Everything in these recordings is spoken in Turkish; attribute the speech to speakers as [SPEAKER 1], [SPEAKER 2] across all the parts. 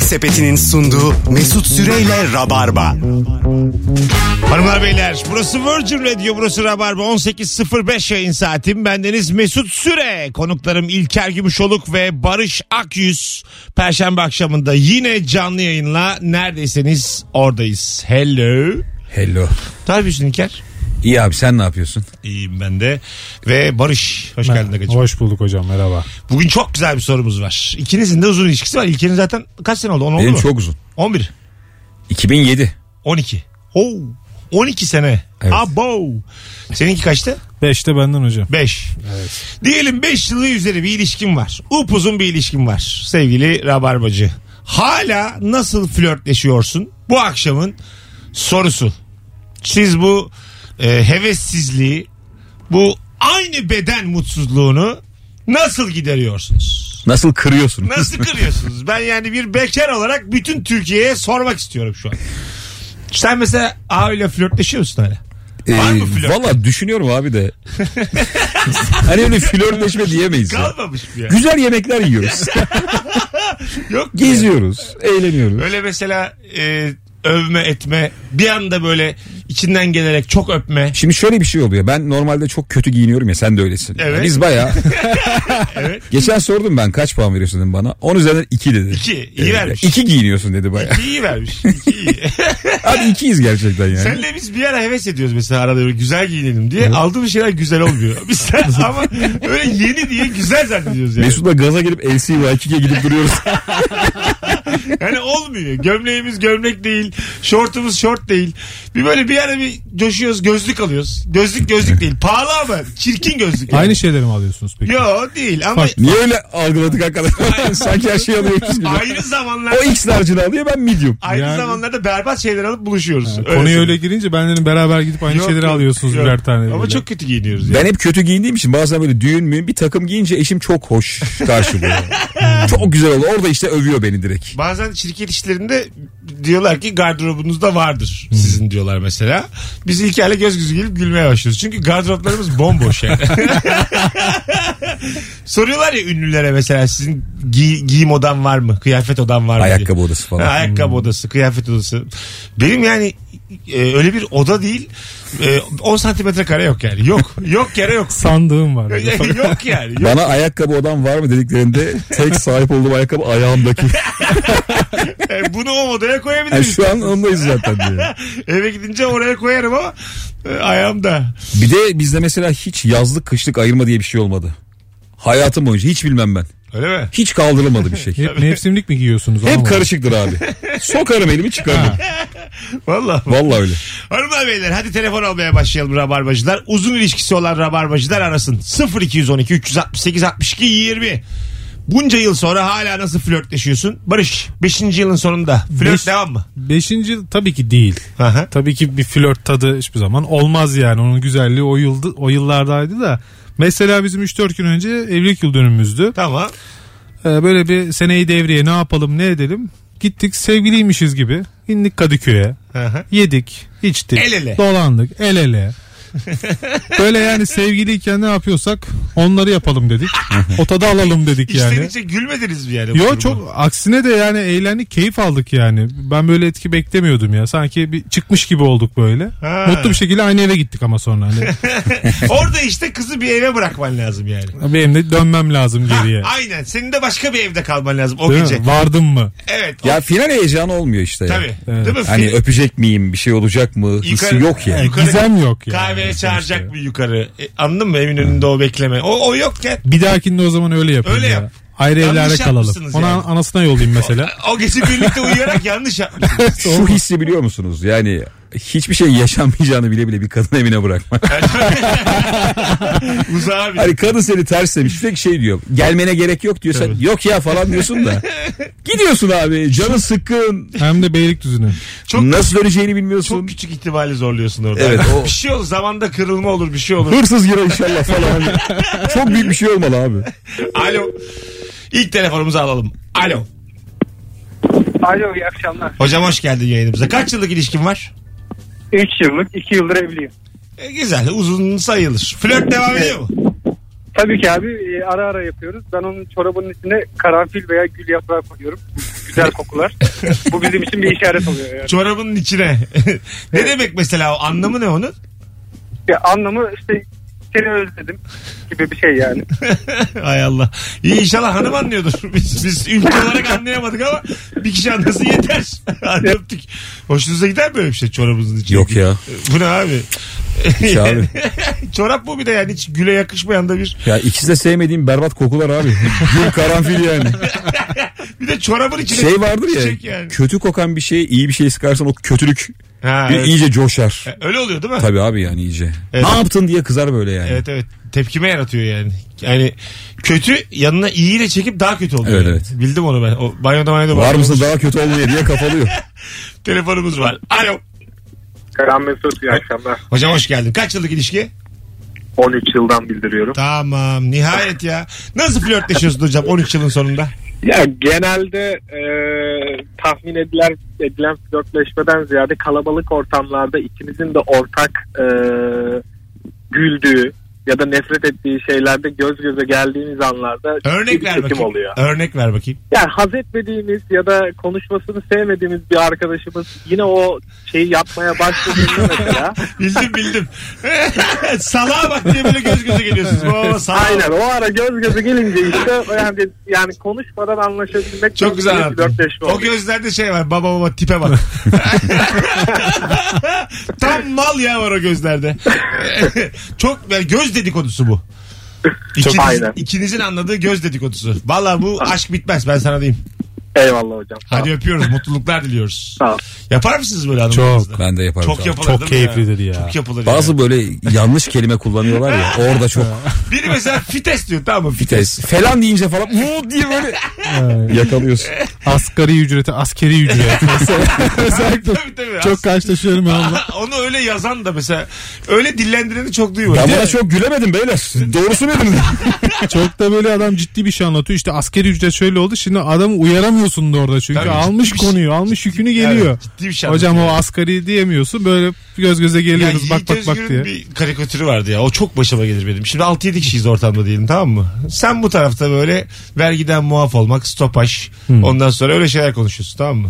[SPEAKER 1] Sepeti'nin sunduğu Mesut Süreyle Rabarba.
[SPEAKER 2] Hanımlar beyler burası Virgin Radio burası Rabarba 18.05 yayın saatim bendeniz Mesut Süre konuklarım İlker Gümüşoluk ve Barış Akyüz Perşembe akşamında yine canlı yayınla neredeyseniz oradayız hello
[SPEAKER 3] Hello.
[SPEAKER 2] Tabii İlker
[SPEAKER 3] İyi abi sen ne yapıyorsun?
[SPEAKER 2] İyiyim ben de ve Barış hoş geldin Agacığım.
[SPEAKER 4] Hoş bulduk hocam merhaba.
[SPEAKER 2] Bugün çok güzel bir sorumuz var ikinizin de uzun ilişkisi var İlker'in zaten kaç sene oldu 10 oldu
[SPEAKER 3] Benim
[SPEAKER 2] mu?
[SPEAKER 3] çok uzun.
[SPEAKER 2] 11
[SPEAKER 3] 2007.
[SPEAKER 2] 12 Oo, 12 sene
[SPEAKER 3] Evet.
[SPEAKER 2] abo seninki kaçtı?
[SPEAKER 4] Beşte benden hocam.
[SPEAKER 2] 5. Diyelim 5 yılı üzeri bir ilişkin var. Upuzun bir ilişkin var sevgili Rabarbacı. Hala nasıl flörtleşiyorsun? Bu akşamın sorusu. Siz bu e, hevessizliği, bu aynı beden mutsuzluğunu nasıl gideriyorsunuz?
[SPEAKER 3] Nasıl kırıyorsun?
[SPEAKER 2] Nasıl kırıyorsunuz? Ben yani bir bekar olarak bütün Türkiye'ye sormak istiyorum şu an. Sen mesela A ile flörtleşiyor musun hala? Var mı flört?
[SPEAKER 3] Valla Ee, düşünüyorum abi de. hani öyle flörtleşme diyemeyiz. ya.
[SPEAKER 2] Kalmamış mı ya?
[SPEAKER 3] Güzel yemekler yiyoruz.
[SPEAKER 2] Yok mu ya?
[SPEAKER 3] Geziyoruz. Eğleniyoruz.
[SPEAKER 2] Öyle mesela e, övme etme bir anda böyle içinden gelerek çok öpme.
[SPEAKER 3] Şimdi şöyle bir şey oluyor. Ben normalde çok kötü giyiniyorum ya sen de öylesin.
[SPEAKER 2] Evet.
[SPEAKER 3] Biz baya.
[SPEAKER 2] Evet.
[SPEAKER 3] Geçen sordum ben kaç puan veriyorsun dedim bana. 10 üzerinden 2 dedi.
[SPEAKER 2] İki, iyi vermiş.
[SPEAKER 3] 2 giyiniyorsun dedi baya.
[SPEAKER 2] İyi vermiş. iyi.
[SPEAKER 3] Abi 2'yiz gerçekten yani.
[SPEAKER 2] Senle biz bir ara heves ediyoruz mesela arada böyle güzel giyinelim diye. Aldığımız şeyler güzel olmuyor. Biz sen- ama öyle yeni diye güzel zannediyoruz yani.
[SPEAKER 3] Mesut'la gaza gelip LC ve Aki'ye gidip duruyoruz.
[SPEAKER 2] Yani olmuyor. Gömleğimiz gömlek değil. Şortumuz şort değil. Bir böyle bir ara bir coşuyoruz gözlük alıyoruz. Gözlük gözlük değil. Pahalı ama çirkin gözlük.
[SPEAKER 4] Aynı şeyleri mi alıyorsunuz peki?
[SPEAKER 2] Yo değil ama
[SPEAKER 3] Niye öyle algıladık hakikaten? Sanki her şeyi alıyoruz gibi.
[SPEAKER 2] ayrı zamanlarda
[SPEAKER 3] O X large'ını alıyor ben medium.
[SPEAKER 2] Aynı
[SPEAKER 4] Yani-
[SPEAKER 2] zamanlarda berbat şeyler alıp buluşuyoruz. Öyle
[SPEAKER 4] Konuya
[SPEAKER 2] söyleyeyim.
[SPEAKER 4] öyle girince benlerin beraber gidip aynı
[SPEAKER 2] Yok,
[SPEAKER 4] şeyleri
[SPEAKER 2] yok,
[SPEAKER 4] alıyorsunuz
[SPEAKER 2] yok.
[SPEAKER 4] birer tane.
[SPEAKER 2] Ama
[SPEAKER 4] böyle.
[SPEAKER 2] çok kötü giyiniyoruz ya.
[SPEAKER 3] Ben hep kötü giyindiğim için bazen böyle düğün mü bir takım giyince eşim çok hoş karşılıyor. çok güzel oldu. Orada işte övüyor beni direkt.
[SPEAKER 2] Bazen şirket işlerinde diyorlar ki gardırobunuzda vardır sizin diyorlar mesela. Biz İlker'le göz göze gelip gülmeye başlıyoruz. Çünkü gardıroplarımız bomboş yani. Soruyorlar ya ünlülere mesela sizin gi- giyim odan var mı? Kıyafet odan var mı? diye.
[SPEAKER 3] Ayakkabı odası
[SPEAKER 2] Ha,
[SPEAKER 3] falan.
[SPEAKER 4] Hmm.
[SPEAKER 2] Ayakkabı odası, kıyafet odası. Benim yani e, öyle bir oda değil. E, 10 santimetre kare yok yani. Yok. Yok yere yok.
[SPEAKER 4] Sandığım var.
[SPEAKER 2] yok yani. Yok.
[SPEAKER 3] Bana ayakkabı odam var mı dediklerinde tek sahip olduğum ayakkabı ayağımdaki.
[SPEAKER 2] E, bunu o odaya
[SPEAKER 3] Yani
[SPEAKER 2] koyabiliriz.
[SPEAKER 3] E, şu an ondayız zaten diyor.
[SPEAKER 2] Eve gidince oraya koyarım ama e, ayağımda.
[SPEAKER 3] Bir de bizde mesela hiç yazlık kışlık ayırma diye bir şey olmadı. Hayatım boyunca hiç bilmem ben.
[SPEAKER 2] Öyle mi?
[SPEAKER 3] Hiç kaldırılmadı bir şey.
[SPEAKER 4] Hep mevsimlik mi giyiyorsunuz?
[SPEAKER 3] Hep
[SPEAKER 4] Ama-
[SPEAKER 3] karışıktır abi. Sokarım elimi çıkarım.
[SPEAKER 2] Valla.
[SPEAKER 3] Vallahi öyle.
[SPEAKER 2] Hanımlar beyler hadi telefon almaya başlayalım rabarbacılar. Uzun ilişkisi olan rabarbacılar arasın. 0212 368 62 20. Bunca yıl sonra hala nasıl flörtleşiyorsun? Barış 5. yılın sonunda flört
[SPEAKER 4] Beş-
[SPEAKER 2] devam mı?
[SPEAKER 4] Beşinci yıl tabii ki değil.
[SPEAKER 2] Aha.
[SPEAKER 4] Tabii ki bir flört tadı hiçbir zaman olmaz yani. Onun güzelliği o, yıldı, o yıllardaydı da. Mesela bizim 3-4 gün önce evlilik yıl dönümümüzdü.
[SPEAKER 2] Tamam.
[SPEAKER 4] Ee, böyle bir seneyi devriye ne yapalım ne edelim. Gittik sevgiliymişiz gibi. İndik Kadıköy'e.
[SPEAKER 2] Aha.
[SPEAKER 4] Yedik, içtik,
[SPEAKER 2] El ele.
[SPEAKER 4] dolandık, el ele. Böyle yani sevgiliyken ne yapıyorsak onları yapalım dedik. O tadı alalım dedik
[SPEAKER 2] İçten
[SPEAKER 4] yani.
[SPEAKER 2] içe gülmediniz mi yani? şey bu duruma?
[SPEAKER 4] Yo çok aksine de yani eğlendik, keyif aldık yani. Ben böyle etki beklemiyordum ya. Sanki bir çıkmış gibi olduk böyle.
[SPEAKER 2] Ha.
[SPEAKER 4] Mutlu bir şekilde aynı eve gittik ama sonra hani.
[SPEAKER 2] Orada işte kızı bir eve bırakman lazım yani.
[SPEAKER 4] Benim de dönmem lazım geriye.
[SPEAKER 2] Aynen. Senin de başka bir evde kalman lazım o
[SPEAKER 4] Değil mi?
[SPEAKER 2] gece.
[SPEAKER 4] Vardım mı?
[SPEAKER 2] Evet.
[SPEAKER 3] Ya final heyecanı olmuyor işte. ya.
[SPEAKER 2] Tabii.
[SPEAKER 4] Evet.
[SPEAKER 2] Değil mi?
[SPEAKER 3] Hani
[SPEAKER 2] Fil-
[SPEAKER 3] öpecek miyim bir şey olacak mı hissi
[SPEAKER 2] Yukarı-
[SPEAKER 3] yok yani.
[SPEAKER 2] Yukarı-
[SPEAKER 4] Gizem yok yani.
[SPEAKER 2] Kahveye çağıracak mı yukarı? E, anladın mı? Emin önünde o bekleme. O, o yokken
[SPEAKER 4] Bir dahakinde o zaman öyle yapın
[SPEAKER 2] Öyle
[SPEAKER 4] ya.
[SPEAKER 2] yap.
[SPEAKER 4] Ayrı
[SPEAKER 2] Yanlış
[SPEAKER 4] evlerde kalalım.
[SPEAKER 2] yapmışsınız
[SPEAKER 4] Ona
[SPEAKER 2] yani.
[SPEAKER 4] anasına yollayayım mesela.
[SPEAKER 2] o gece birlikte uyuyarak yanlış yapmışsınız.
[SPEAKER 3] Şu hissi biliyor musunuz? Yani hiçbir şey yaşanmayacağını bile bile bir kadın evine bırakma.
[SPEAKER 2] Uzağa bir.
[SPEAKER 3] Hani kadın seni ters demiş. Sürekli şey diyor. Gelmene gerek yok diyor. Sen yok ya falan diyorsun da. Gidiyorsun abi. Canı sıkkın.
[SPEAKER 4] Hem de Beylikdüzü'nün.
[SPEAKER 2] Çok-
[SPEAKER 3] Nasıl döneceğini bilmiyorsun.
[SPEAKER 2] Çok küçük ihtimali zorluyorsun orada.
[SPEAKER 3] Evet, o-
[SPEAKER 2] Bir şey olur. Zamanda kırılma olur. Bir şey olur.
[SPEAKER 3] Hırsız girer inşallah falan. Çok büyük bir şey olmalı abi.
[SPEAKER 2] Alo. İlk telefonumuzu alalım. Alo.
[SPEAKER 5] Alo iyi akşamlar.
[SPEAKER 2] Hocam hoş geldin yayınımıza. Kaç yıllık ilişkin var?
[SPEAKER 5] 3 yıllık 2 yıldır evliyim.
[SPEAKER 2] E, güzel. Uzun sayılır. Flört devam ediyor mu?
[SPEAKER 5] Tabii ki abi e, ara ara yapıyoruz. Ben onun çorabının içine karanfil veya gül yaprağı koyuyorum. güzel kokular. Bu bizim için bir işaret oluyor yani.
[SPEAKER 2] Çorabının içine. ne demek mesela o anlamı ne onun?
[SPEAKER 5] Ya anlamı işte seni özledim gibi bir şey yani.
[SPEAKER 2] Hay Allah. İyi inşallah hanım anlıyordur. Biz, biz ülke olarak anlayamadık ama bir kişi anlasın yeter. Hadi öptük. Hoşunuza gider mi böyle bir şey çorabınızın içine?
[SPEAKER 3] Yok ya.
[SPEAKER 2] Bu ne abi?
[SPEAKER 3] Hiç abi.
[SPEAKER 2] Çorap bu bir de yani hiç güle yakışmayan da bir.
[SPEAKER 3] Ya ikisi de sevmediğim berbat kokular abi. Gül karanfil yani.
[SPEAKER 2] Bir de çorabın içine
[SPEAKER 3] Şey vardır
[SPEAKER 2] çiçek
[SPEAKER 3] ya. Kötü kokan bir şey iyi bir şey sıkarsan o kötülük
[SPEAKER 2] Ha,
[SPEAKER 3] bir
[SPEAKER 2] evet.
[SPEAKER 3] iyice coşar.
[SPEAKER 2] Öyle oluyor değil mi?
[SPEAKER 3] Tabii abi yani iyice.
[SPEAKER 2] Evet.
[SPEAKER 3] Ne yaptın diye kızar böyle yani.
[SPEAKER 2] Evet evet. Tepkime yaratıyor yani. Yani kötü yanına iyiyle çekip daha kötü oluyor.
[SPEAKER 3] Evet,
[SPEAKER 2] yani.
[SPEAKER 3] evet.
[SPEAKER 2] Bildim onu ben. O banyoda banyoda
[SPEAKER 3] Var
[SPEAKER 2] banyoda-
[SPEAKER 3] mısın daha kötü olmaya diye kafalıyor.
[SPEAKER 2] Telefonumuz var. Alo.
[SPEAKER 6] Karan Mesut iyi akşamlar.
[SPEAKER 2] Hocam hoş geldin. Kaç yıllık ilişki?
[SPEAKER 6] 13 yıldan bildiriyorum.
[SPEAKER 2] Tamam nihayet ya. Nasıl flörtleşiyorsun hocam 13 yılın sonunda?
[SPEAKER 6] Ya genelde e, tahmin edilen, edilen flörtleşmeden ziyade kalabalık ortamlarda ikimizin de ortak e, güldüğü ya da nefret ettiği şeylerde göz göze geldiğimiz anlarda
[SPEAKER 2] Örnek
[SPEAKER 6] bir
[SPEAKER 2] ver
[SPEAKER 6] çekim
[SPEAKER 2] bakayım.
[SPEAKER 6] oluyor.
[SPEAKER 2] Örnek ver bakayım.
[SPEAKER 6] Yani haz etmediğimiz ya da konuşmasını sevmediğimiz bir arkadaşımız yine o şeyi yapmaya başladığında mesela
[SPEAKER 2] Bildim bildim. Salağa bak diye böyle göz göze geliyorsunuz. Oo, salak.
[SPEAKER 6] Aynen o ara göz göze gelince işte yani, yani konuşmadan anlaşabilmek
[SPEAKER 2] Çok güzel
[SPEAKER 6] bir
[SPEAKER 2] anlattın.
[SPEAKER 6] flörtleşme
[SPEAKER 2] O
[SPEAKER 6] oluyor.
[SPEAKER 2] gözlerde şey var. Baba baba tipe bak. Tam mal ya var o gözlerde. Çok yani göz dedikodusu bu. İkiniz,
[SPEAKER 6] Aynen.
[SPEAKER 2] ikinizin anladığı göz dedikodusu. Valla bu aşk bitmez ben sana diyeyim.
[SPEAKER 6] Eyvallah hocam. Sağ
[SPEAKER 2] Hadi öpüyoruz mutluluklar diliyoruz.
[SPEAKER 6] Sağ ol.
[SPEAKER 2] Yapar mısınız böyle hanımlarınızla?
[SPEAKER 3] Ben de yaparım.
[SPEAKER 2] Çok
[SPEAKER 3] sana.
[SPEAKER 2] yapılır
[SPEAKER 4] Çok
[SPEAKER 2] değil mi
[SPEAKER 4] keyiflidir ya.
[SPEAKER 2] Çok yapılır
[SPEAKER 3] Bazı
[SPEAKER 2] ya.
[SPEAKER 3] böyle yanlış kelime kullanıyorlar ya. Orada çok
[SPEAKER 2] Biri mesela fites diyor tamam mı? Fites.
[SPEAKER 3] vites falan deyince falan "Vuu" diye böyle yakalıyorsun.
[SPEAKER 4] Asgari ücreti askeri ücret. Özellikle
[SPEAKER 2] Tabii tabii.
[SPEAKER 4] çok karşılaşıyorum ben onunla.
[SPEAKER 2] Onu öyle yazan da mesela öyle dillendireni çok duyuyorum.
[SPEAKER 3] Ben buna çok gülemedim beyler. Doğrusu nedir?
[SPEAKER 4] Çok da böyle adam ciddi bir şey anlatıyor. İşte askeri ücret şöyle oldu. Şimdi adamı uyaramıyorsun da orada çünkü
[SPEAKER 2] Tabii,
[SPEAKER 4] almış
[SPEAKER 2] ciddi bir şey.
[SPEAKER 4] konuyu, almış yükünü geliyor.
[SPEAKER 2] ciddi bir şey
[SPEAKER 4] Hocam o asgari diyemiyorsun. Böyle göz göze geliyoruz
[SPEAKER 2] Ya
[SPEAKER 4] bak
[SPEAKER 2] Yiğit
[SPEAKER 4] bak bak diye.
[SPEAKER 2] Özgür'ün bir karikatürü vardı ya. O çok başıma gelir benim. Şimdi 6-7 kişiyiz ortamda diyelim tamam mı? Sen bu tarafta böyle vergiden muaf olmak, stopaj.
[SPEAKER 4] Hmm.
[SPEAKER 2] Ondan sonra öyle şeyler konuşuyorsun tamam mı?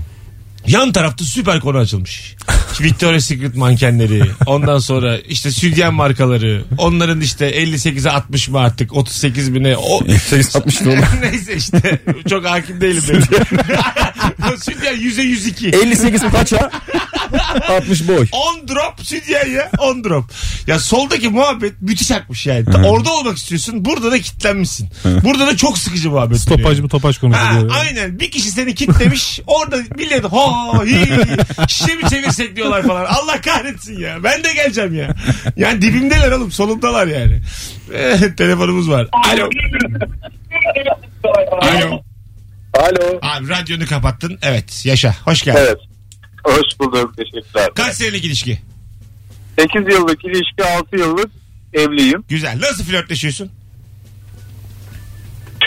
[SPEAKER 2] Yan tarafta süper konu açılmış. Victoria's Secret mankenleri. Ondan sonra işte sütyen markaları. Onların işte 58'e 60 mı artık? 38 bine. O,
[SPEAKER 3] 860 dolar.
[SPEAKER 2] Neyse işte. Çok hakim değilim benim. sütyen 100'e 102.
[SPEAKER 3] 58 paça 60 boy.
[SPEAKER 2] 10 drop sütyen ya 10 drop. Ya soldaki muhabbet müthiş akmış yani. Ta- Orada olmak istiyorsun burada da kitlenmişsin. Burada da çok sıkıcı muhabbet. oluyor.
[SPEAKER 4] Stopaj mı topaç
[SPEAKER 2] Ha,
[SPEAKER 4] konuşuyor.
[SPEAKER 2] aynen bir kişi seni kitlemiş orada millet ho hi şişe mi çevirsek diyorlar falan Allah kahretsin ya ben de geleceğim ya yani dibimdeler oğlum solumdalar yani Eh, telefonumuz var alo alo
[SPEAKER 7] Alo.
[SPEAKER 2] abi radyonu kapattın evet yaşa hoş geldin
[SPEAKER 7] Evet. Hoş bulduk. Teşekkürler.
[SPEAKER 2] kaç senelik ilişki
[SPEAKER 7] 8 yıllık ilişki 6 yıllık evliyim.
[SPEAKER 2] güzel nasıl flörtleşiyorsun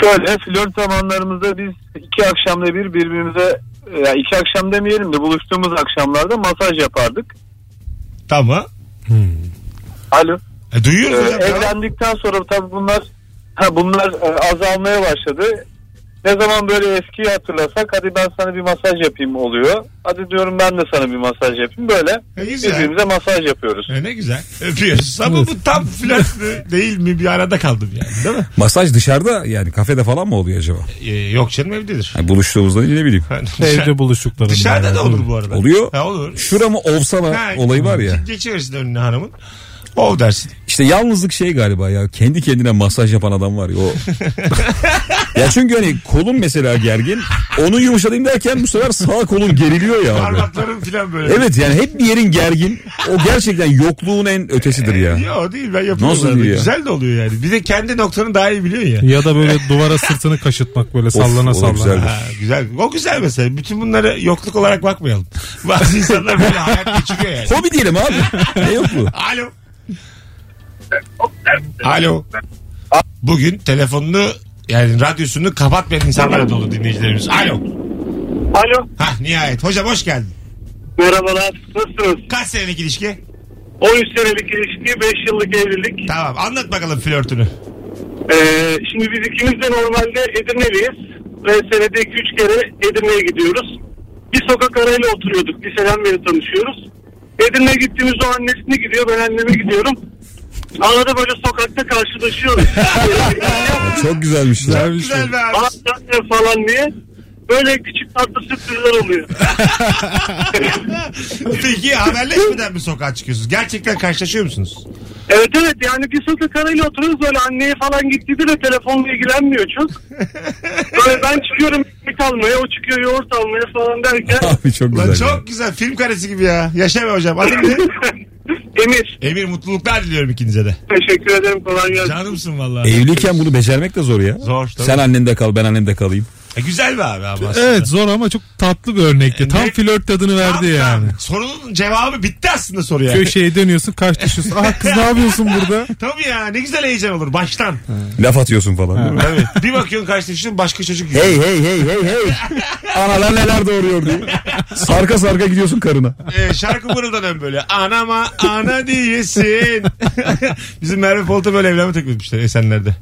[SPEAKER 7] Şöyle flört zamanlarımızda biz iki akşamda bir birbirimize e, yani iki akşam demeyelim de buluştuğumuz akşamlarda masaj yapardık.
[SPEAKER 2] tamam
[SPEAKER 7] Alo.
[SPEAKER 2] E,
[SPEAKER 7] Ee,
[SPEAKER 2] duyuyoruz hocam.
[SPEAKER 7] evlendikten sonra tabii bunlar ha, bunlar e, azalmaya başladı. Ne zaman böyle eskiyi hatırlasak hadi ben sana bir masaj yapayım oluyor. Hadi diyorum ben de sana bir masaj yapayım. Böyle
[SPEAKER 2] E, güzel.
[SPEAKER 7] birbirimize masaj yapıyoruz.
[SPEAKER 2] E, ne güzel. Öpüyoruz. Ama bu tam flört mü değil mi bir arada kaldım yani değil mi?
[SPEAKER 3] Masaj dışarıda yani kafede falan mı oluyor acaba?
[SPEAKER 2] E, yok canım evdedir.
[SPEAKER 3] Yani buluştuğumuzda ne bileyim.
[SPEAKER 4] Evde buluştuklarında.
[SPEAKER 2] Dışarıda
[SPEAKER 4] yani.
[SPEAKER 2] da olur bu arada.
[SPEAKER 3] Oluyor.
[SPEAKER 2] Ha, olur.
[SPEAKER 3] Şura mı olsa mı
[SPEAKER 2] Ha,
[SPEAKER 3] olayı var ya.
[SPEAKER 2] Geçiverirsin önüne hanımın. O dersin.
[SPEAKER 3] İşte yalnızlık şey galiba ya. Kendi kendine masaj yapan adam var ya o. ya çünkü hani kolun mesela gergin. Onu yumuşatayım derken bu sefer sağ kolun geriliyor ya abi.
[SPEAKER 2] Parmakların falan böyle.
[SPEAKER 3] Evet yani hep bir yerin gergin. O gerçekten yokluğun en ötesidir ya.
[SPEAKER 2] Yok değil ben yapıyorum.
[SPEAKER 3] Nasıl
[SPEAKER 2] arada.
[SPEAKER 3] değil ya?
[SPEAKER 2] Güzel de oluyor yani. Bir de kendi noktanı daha iyi biliyorsun ya.
[SPEAKER 4] Ya da böyle duvara sırtını kaşıtmak böyle sallana
[SPEAKER 3] o da
[SPEAKER 4] sallana.
[SPEAKER 3] güzeldir.
[SPEAKER 2] Ha, güzel. O güzel mesela. Bütün bunlara yokluk olarak bakmayalım. Bazı insanlar böyle hayat geçiriyor yani.
[SPEAKER 3] Hobi diyelim abi. Ne yok bu?
[SPEAKER 2] Alo. Alo. Bugün telefonunu yani radyosunu kapatmayan insanlara dolu dinleyicilerimiz. Alo.
[SPEAKER 5] Alo.
[SPEAKER 2] Hah nihayet. Hocam hoş geldin.
[SPEAKER 5] Merhabalar. Nasılsınız?
[SPEAKER 2] Kaç senelik ilişki?
[SPEAKER 5] 13 senelik ilişki, 5 yıllık evlilik.
[SPEAKER 2] Tamam anlat bakalım flörtünü.
[SPEAKER 5] Ee, şimdi biz ikimiz de normalde Edirne'liyiz ve senede 2-3 kere Edirne'ye gidiyoruz. Bir sokak arayla oturuyorduk. Liseden beri tanışıyoruz. Edirne'ye gittiğimiz o annesine gidiyor, ben anneme gidiyorum. Arada böyle sokakta karşılaşıyoruz.
[SPEAKER 3] Çok güzelmiş. ya.
[SPEAKER 4] Güzelmiş
[SPEAKER 2] Güzel be abi.
[SPEAKER 5] Anlatacak falan diye. Böyle küçük tatlı sürprizler oluyor.
[SPEAKER 2] Peki haberleşmeden mi sokağa çıkıyorsunuz? Gerçekten karşılaşıyor musunuz?
[SPEAKER 5] Evet evet yani bir sokak arayla oturuyoruz böyle anneye falan gittiydi de telefonla ilgilenmiyor çok. Böyle ben çıkıyorum ekmek almaya o çıkıyor yoğurt almaya falan derken
[SPEAKER 3] Abi çok
[SPEAKER 2] Lan
[SPEAKER 3] güzel. ya.
[SPEAKER 2] çok güzel. Film karesi gibi ya. Yaşa be hocam. Adın ne?
[SPEAKER 5] Emir
[SPEAKER 2] Emir mutluluklar diliyorum ikinize de.
[SPEAKER 5] teşekkür ederim kolay gelsin.
[SPEAKER 2] Canımsın vallahi.
[SPEAKER 3] Evliyken bunu becermek de zor ya.
[SPEAKER 2] Zor, tabii.
[SPEAKER 3] Sen annende kal ben annemde kalayım.
[SPEAKER 2] E, güzel be abi ama aslında.
[SPEAKER 4] Evet zor ama çok tatlı bir örnekti. Tam
[SPEAKER 2] Ne-
[SPEAKER 4] flört tadını
[SPEAKER 2] Tam-
[SPEAKER 4] verdi
[SPEAKER 2] tam.
[SPEAKER 4] yani.
[SPEAKER 2] Sorunun cevabı bitti aslında soru yani.
[SPEAKER 4] Köşeye dönüyorsun karşılaşıyorsun. Ah kız ne yapıyorsun burada?
[SPEAKER 2] Tabii ya ne güzel heyecan olur baştan.
[SPEAKER 3] Laf atıyorsun falan. değil mi?
[SPEAKER 2] Evet. Bir bakıyorsun karşılaşıyorsun başka çocuk. yüzü.
[SPEAKER 3] Hey hey hey hey hey. Analar neler doğuruyor diye. Sarka sarka gidiyorsun karına.
[SPEAKER 2] Ee, şarkı mırıldanan böyle. Anama ana diyesin. Bizim Merve Polat'a böyle evlenme teklif etmişler Esenler'de.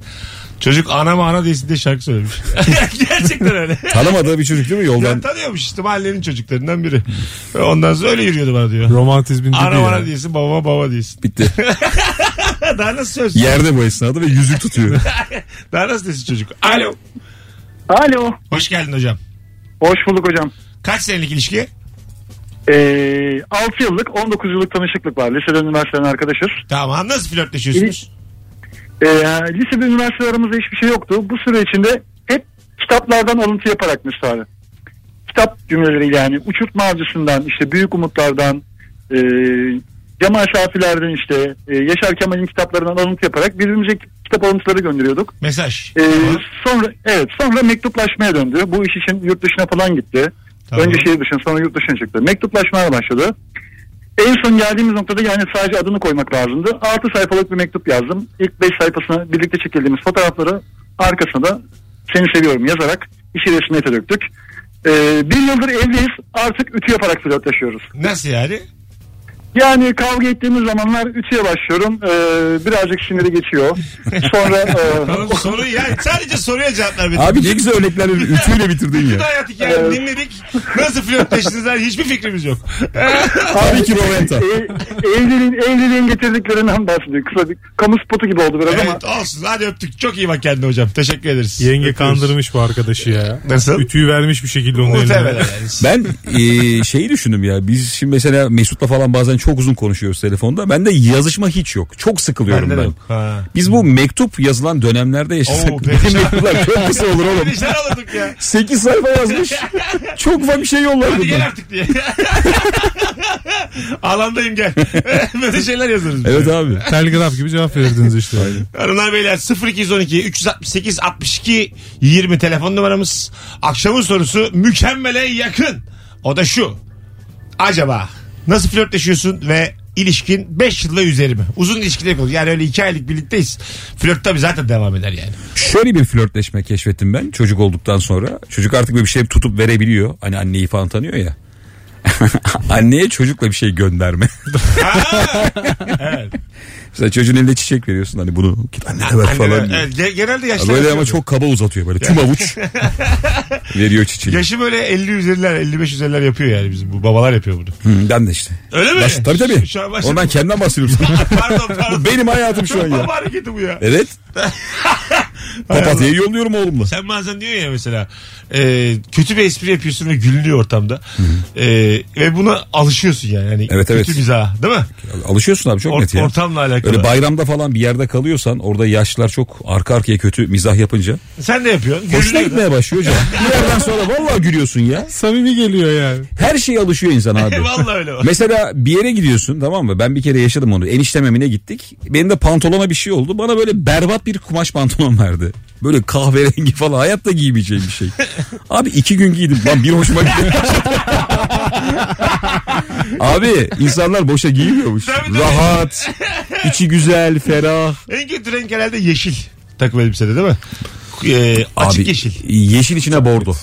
[SPEAKER 2] Çocuk anama ana diyesin diye şarkı söylemiş. Gerçekten öyle.
[SPEAKER 3] Tanımadığı bir çocuk değil mi
[SPEAKER 2] Ben
[SPEAKER 3] yoldan?
[SPEAKER 2] tanıyormuş işte mahallenin çocuklarından biri. Ondan sonra öyle yürüyordu bana diyor.
[SPEAKER 4] Romantizmin dibi
[SPEAKER 2] Ana bana
[SPEAKER 4] ya.
[SPEAKER 2] diyesin babama baba diyesin.
[SPEAKER 3] Bitti.
[SPEAKER 2] Daha nasıl söz?
[SPEAKER 3] Yerde bu esnada ve yüzük tutuyor.
[SPEAKER 2] Daha nasıl desin çocuk? Alo.
[SPEAKER 5] Alo.
[SPEAKER 2] Hoş geldin hocam.
[SPEAKER 5] Hoş bulduk hocam.
[SPEAKER 2] Kaç senelik ilişki?
[SPEAKER 5] Ee, 6 yıllık 19 yıllık tanışıklık var. Liseden üniversiteden arkadaşız.
[SPEAKER 2] Tamam nasıl flörtleşiyorsunuz?
[SPEAKER 5] Ee, lise ve üniversite aramızda hiçbir şey yoktu. Bu süre içinde hep kitaplardan alıntı yaparak müsaade. Kitap cümleleriyle yani uçurtma avcısından işte büyük umutlardan e, Cemal Şafiler'den işte e, Yaşar Kemal'in kitaplarından alıntı yaparak birbirimize kitap alıntıları gönderiyorduk.
[SPEAKER 2] Mesaj.
[SPEAKER 5] Ee, sonra evet sonra mektuplaşmaya döndü. Bu iş için yurt dışına falan gitti.
[SPEAKER 2] Tamam.
[SPEAKER 5] Önce şey- şehir dışına sonra yurt dışına çıktı. Mektuplaşmaya başladı. En son geldiğimiz noktada yani sadece adını koymak lazımdı. 6 sayfalık bir mektup yazdım. İlk 5 sayfasına birlikte çekildiğimiz fotoğrafları arkasına da seni seviyorum yazarak işi resmiyete döktük. Ee, bir yıldır evliyiz artık ütü yaparak flörtleşiyoruz.
[SPEAKER 2] Nasıl yani?
[SPEAKER 5] Yani kavga ettiğimiz zamanlar ütüye başlıyorum. Ee, birazcık siniri geçiyor. Sonra e,
[SPEAKER 2] Oğlum soru ya. Sadece soruya cevaplar ver.
[SPEAKER 3] Abi ne güzel örnekler ütüyle bitirdin
[SPEAKER 2] Bütün
[SPEAKER 3] ya.
[SPEAKER 2] hayat hikayeni dinledik. Nasıl flörtleştiğinizden hiçbir fikrimiz yok.
[SPEAKER 3] Tabii ki Roventa.
[SPEAKER 5] E- evliliğin, evliliğin getirdiklerinden bahsediyor. Kısa bir kamu spotu gibi oldu biraz ama.
[SPEAKER 2] evet olsun. Hadi öptük. Çok iyi bak kendine hocam. Teşekkür ederiz.
[SPEAKER 4] Yenge
[SPEAKER 2] Öpüyoruz.
[SPEAKER 4] kandırmış bu arkadaşı ya.
[SPEAKER 2] Nasıl?
[SPEAKER 4] Ütüyü vermiş bir şekilde onun
[SPEAKER 2] Muhtemelen
[SPEAKER 4] eline.
[SPEAKER 3] Ben
[SPEAKER 2] yani.
[SPEAKER 3] e, şeyi düşündüm ya biz şimdi mesela Mesut'la falan bazen çok uzun konuşuyoruz telefonda. Bende yazışma hiç yok. Çok sıkılıyorum
[SPEAKER 2] Bende de
[SPEAKER 3] ben.
[SPEAKER 2] yok. Ha.
[SPEAKER 3] Biz bu mektup yazılan dönemlerde yaşasak.
[SPEAKER 2] Oo, perişan.
[SPEAKER 3] mektuplar çok kısa olur oğlum.
[SPEAKER 2] Perişan olurduk ya.
[SPEAKER 3] 8 sayfa yazmış. Çok ufak bir şey yollar
[SPEAKER 2] Hadi gel
[SPEAKER 3] bundan.
[SPEAKER 2] artık diye. Alandayım gel. Böyle şeyler yazarız. biz.
[SPEAKER 3] Evet abi.
[SPEAKER 4] Telgraf gibi cevap verirdiniz işte.
[SPEAKER 2] Hanımlar beyler 0212 368 62 20 telefon numaramız. Akşamın sorusu mükemmele yakın. O da şu. Acaba nasıl flörtleşiyorsun ve ilişkin 5 yılla üzeri mi? Uzun ilişkiler konu. Yani öyle 2 aylık birlikteyiz. Flört tabii zaten devam eder yani.
[SPEAKER 3] Şöyle bir flörtleşme keşfettim ben çocuk olduktan sonra. Çocuk artık böyle bir şey tutup verebiliyor. Hani anneyi falan tanıyor ya. Anneye çocukla bir şey gönderme.
[SPEAKER 2] Evet.
[SPEAKER 3] Mesela çocuğun elinde çiçek veriyorsun hani bunu git annene ver falan
[SPEAKER 2] Anne-
[SPEAKER 3] diyor.
[SPEAKER 2] evet, e, ge- genelde
[SPEAKER 3] Ha,
[SPEAKER 2] yaşlar.
[SPEAKER 3] Böyle ama
[SPEAKER 2] yapıyordu.
[SPEAKER 3] çok kaba uzatıyor böyle tüm avuç veriyor çiçeği.
[SPEAKER 2] Yaşı böyle 50 üzeriler 55 üzeriler yapıyor yani bizim bu babalar yapıyor bunu.
[SPEAKER 3] Hı, ben de işte.
[SPEAKER 2] Öyle mi?
[SPEAKER 3] Baş, tabii tabii.
[SPEAKER 2] Şu- şu an başladım.
[SPEAKER 3] Ondan kendimden bahsediyorum sana.
[SPEAKER 2] pardon pardon.
[SPEAKER 3] Benim hayatım şu an ya. E,
[SPEAKER 2] Baba hareketi bu ya.
[SPEAKER 3] Evet. Papatya'yı yolluyorum oğlumla.
[SPEAKER 2] Sen bazen diyor ya mesela e, kötü bir espri yapıyorsun ve gülünüyor ortamda. E, ve buna alışıyorsun yani. yani
[SPEAKER 3] Evet,
[SPEAKER 2] kötü
[SPEAKER 3] evet.
[SPEAKER 2] mizah değil mi?
[SPEAKER 3] Alışıyorsun abi çok
[SPEAKER 2] Or-
[SPEAKER 3] net ya.
[SPEAKER 2] ortamla alakalı.
[SPEAKER 3] Öyle bayramda falan bir yerde kalıyorsan orada yaşlılar çok arka arkaya kötü mizah yapınca
[SPEAKER 2] Sen de yapıyorsun.
[SPEAKER 3] hoşuna
[SPEAKER 2] Gülünüyor da.
[SPEAKER 3] gitmeye başlıyor canım. bir yerden sonra vallahi gülüyorsun ya.
[SPEAKER 4] Samimi geliyor yani.
[SPEAKER 3] Her şeye alışıyor insan abi.
[SPEAKER 2] Vallahi öyle var.
[SPEAKER 3] Mesela bir yere gidiyorsun tamam mı? Ben bir kere yaşadım onu. Eniştem emine gittik. Benim de pantolona bir şey oldu. Bana böyle berbat bir kumaş pantolon verdi. Böyle kahverengi falan hayatta giymeyeceğim bir şey. Abi iki gün giydim. Lan bir hoşuma gitti. Abi insanlar boşa giymiyormuş.
[SPEAKER 2] Tabii, tabii.
[SPEAKER 3] Rahat, içi güzel, ferah.
[SPEAKER 2] En kötü renk herhalde yeşil takım elbisede değil mi? e, açık yeşil.
[SPEAKER 3] Yeşil içine bordo.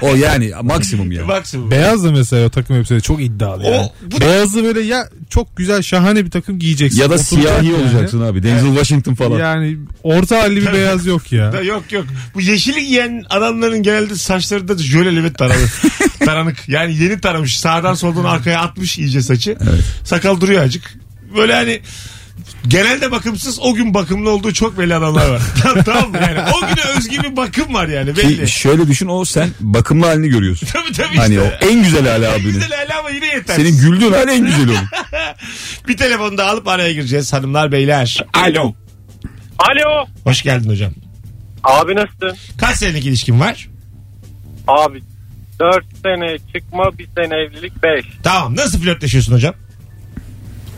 [SPEAKER 3] o yani maksimum yani.
[SPEAKER 2] Maksimum.
[SPEAKER 4] Beyaz da mesela o takım elbiseleri çok iddialı
[SPEAKER 2] O-
[SPEAKER 4] yani.
[SPEAKER 2] bu-
[SPEAKER 4] Beyazı böyle ya çok güzel şahane bir takım giyeceksin.
[SPEAKER 3] Ya da
[SPEAKER 4] oturacak
[SPEAKER 3] siyahi
[SPEAKER 4] yani.
[SPEAKER 3] olacaksın abi. Denzel Washington falan.
[SPEAKER 4] Yani orta halli bir beyaz yok ya.
[SPEAKER 2] Yok yok. Bu yeşili giyen adamların genelde saçları da jöleli ve taralı. Taranık. Yani yeni taramış. Sağdan soldan arkaya atmış iyice saçı. Sakal duruyor acık. Böyle hani genelde bakımsız o gün bakımlı olduğu çok belli adamlar var. tamam mı? Yani o güne özgü bir bakım var yani belli.
[SPEAKER 3] Ki şöyle düşün o sen bakımlı halini görüyorsun.
[SPEAKER 2] tabii tabii işte.
[SPEAKER 3] hani o en güzel hali
[SPEAKER 2] En
[SPEAKER 3] abinin.
[SPEAKER 2] güzel hala ama yine yeter.
[SPEAKER 3] Senin güldüğün hali en güzel onun.
[SPEAKER 2] Bir telefonu da alıp araya gireceğiz hanımlar beyler. Alo.
[SPEAKER 6] Alo.
[SPEAKER 2] Hoş geldin hocam.
[SPEAKER 6] Abi nasılsın?
[SPEAKER 2] Kaç senelik ilişkin var?
[SPEAKER 6] Abi 4 sene çıkma bir sene evlilik 5.
[SPEAKER 2] Tamam. Nasıl flörtleşiyorsun hocam?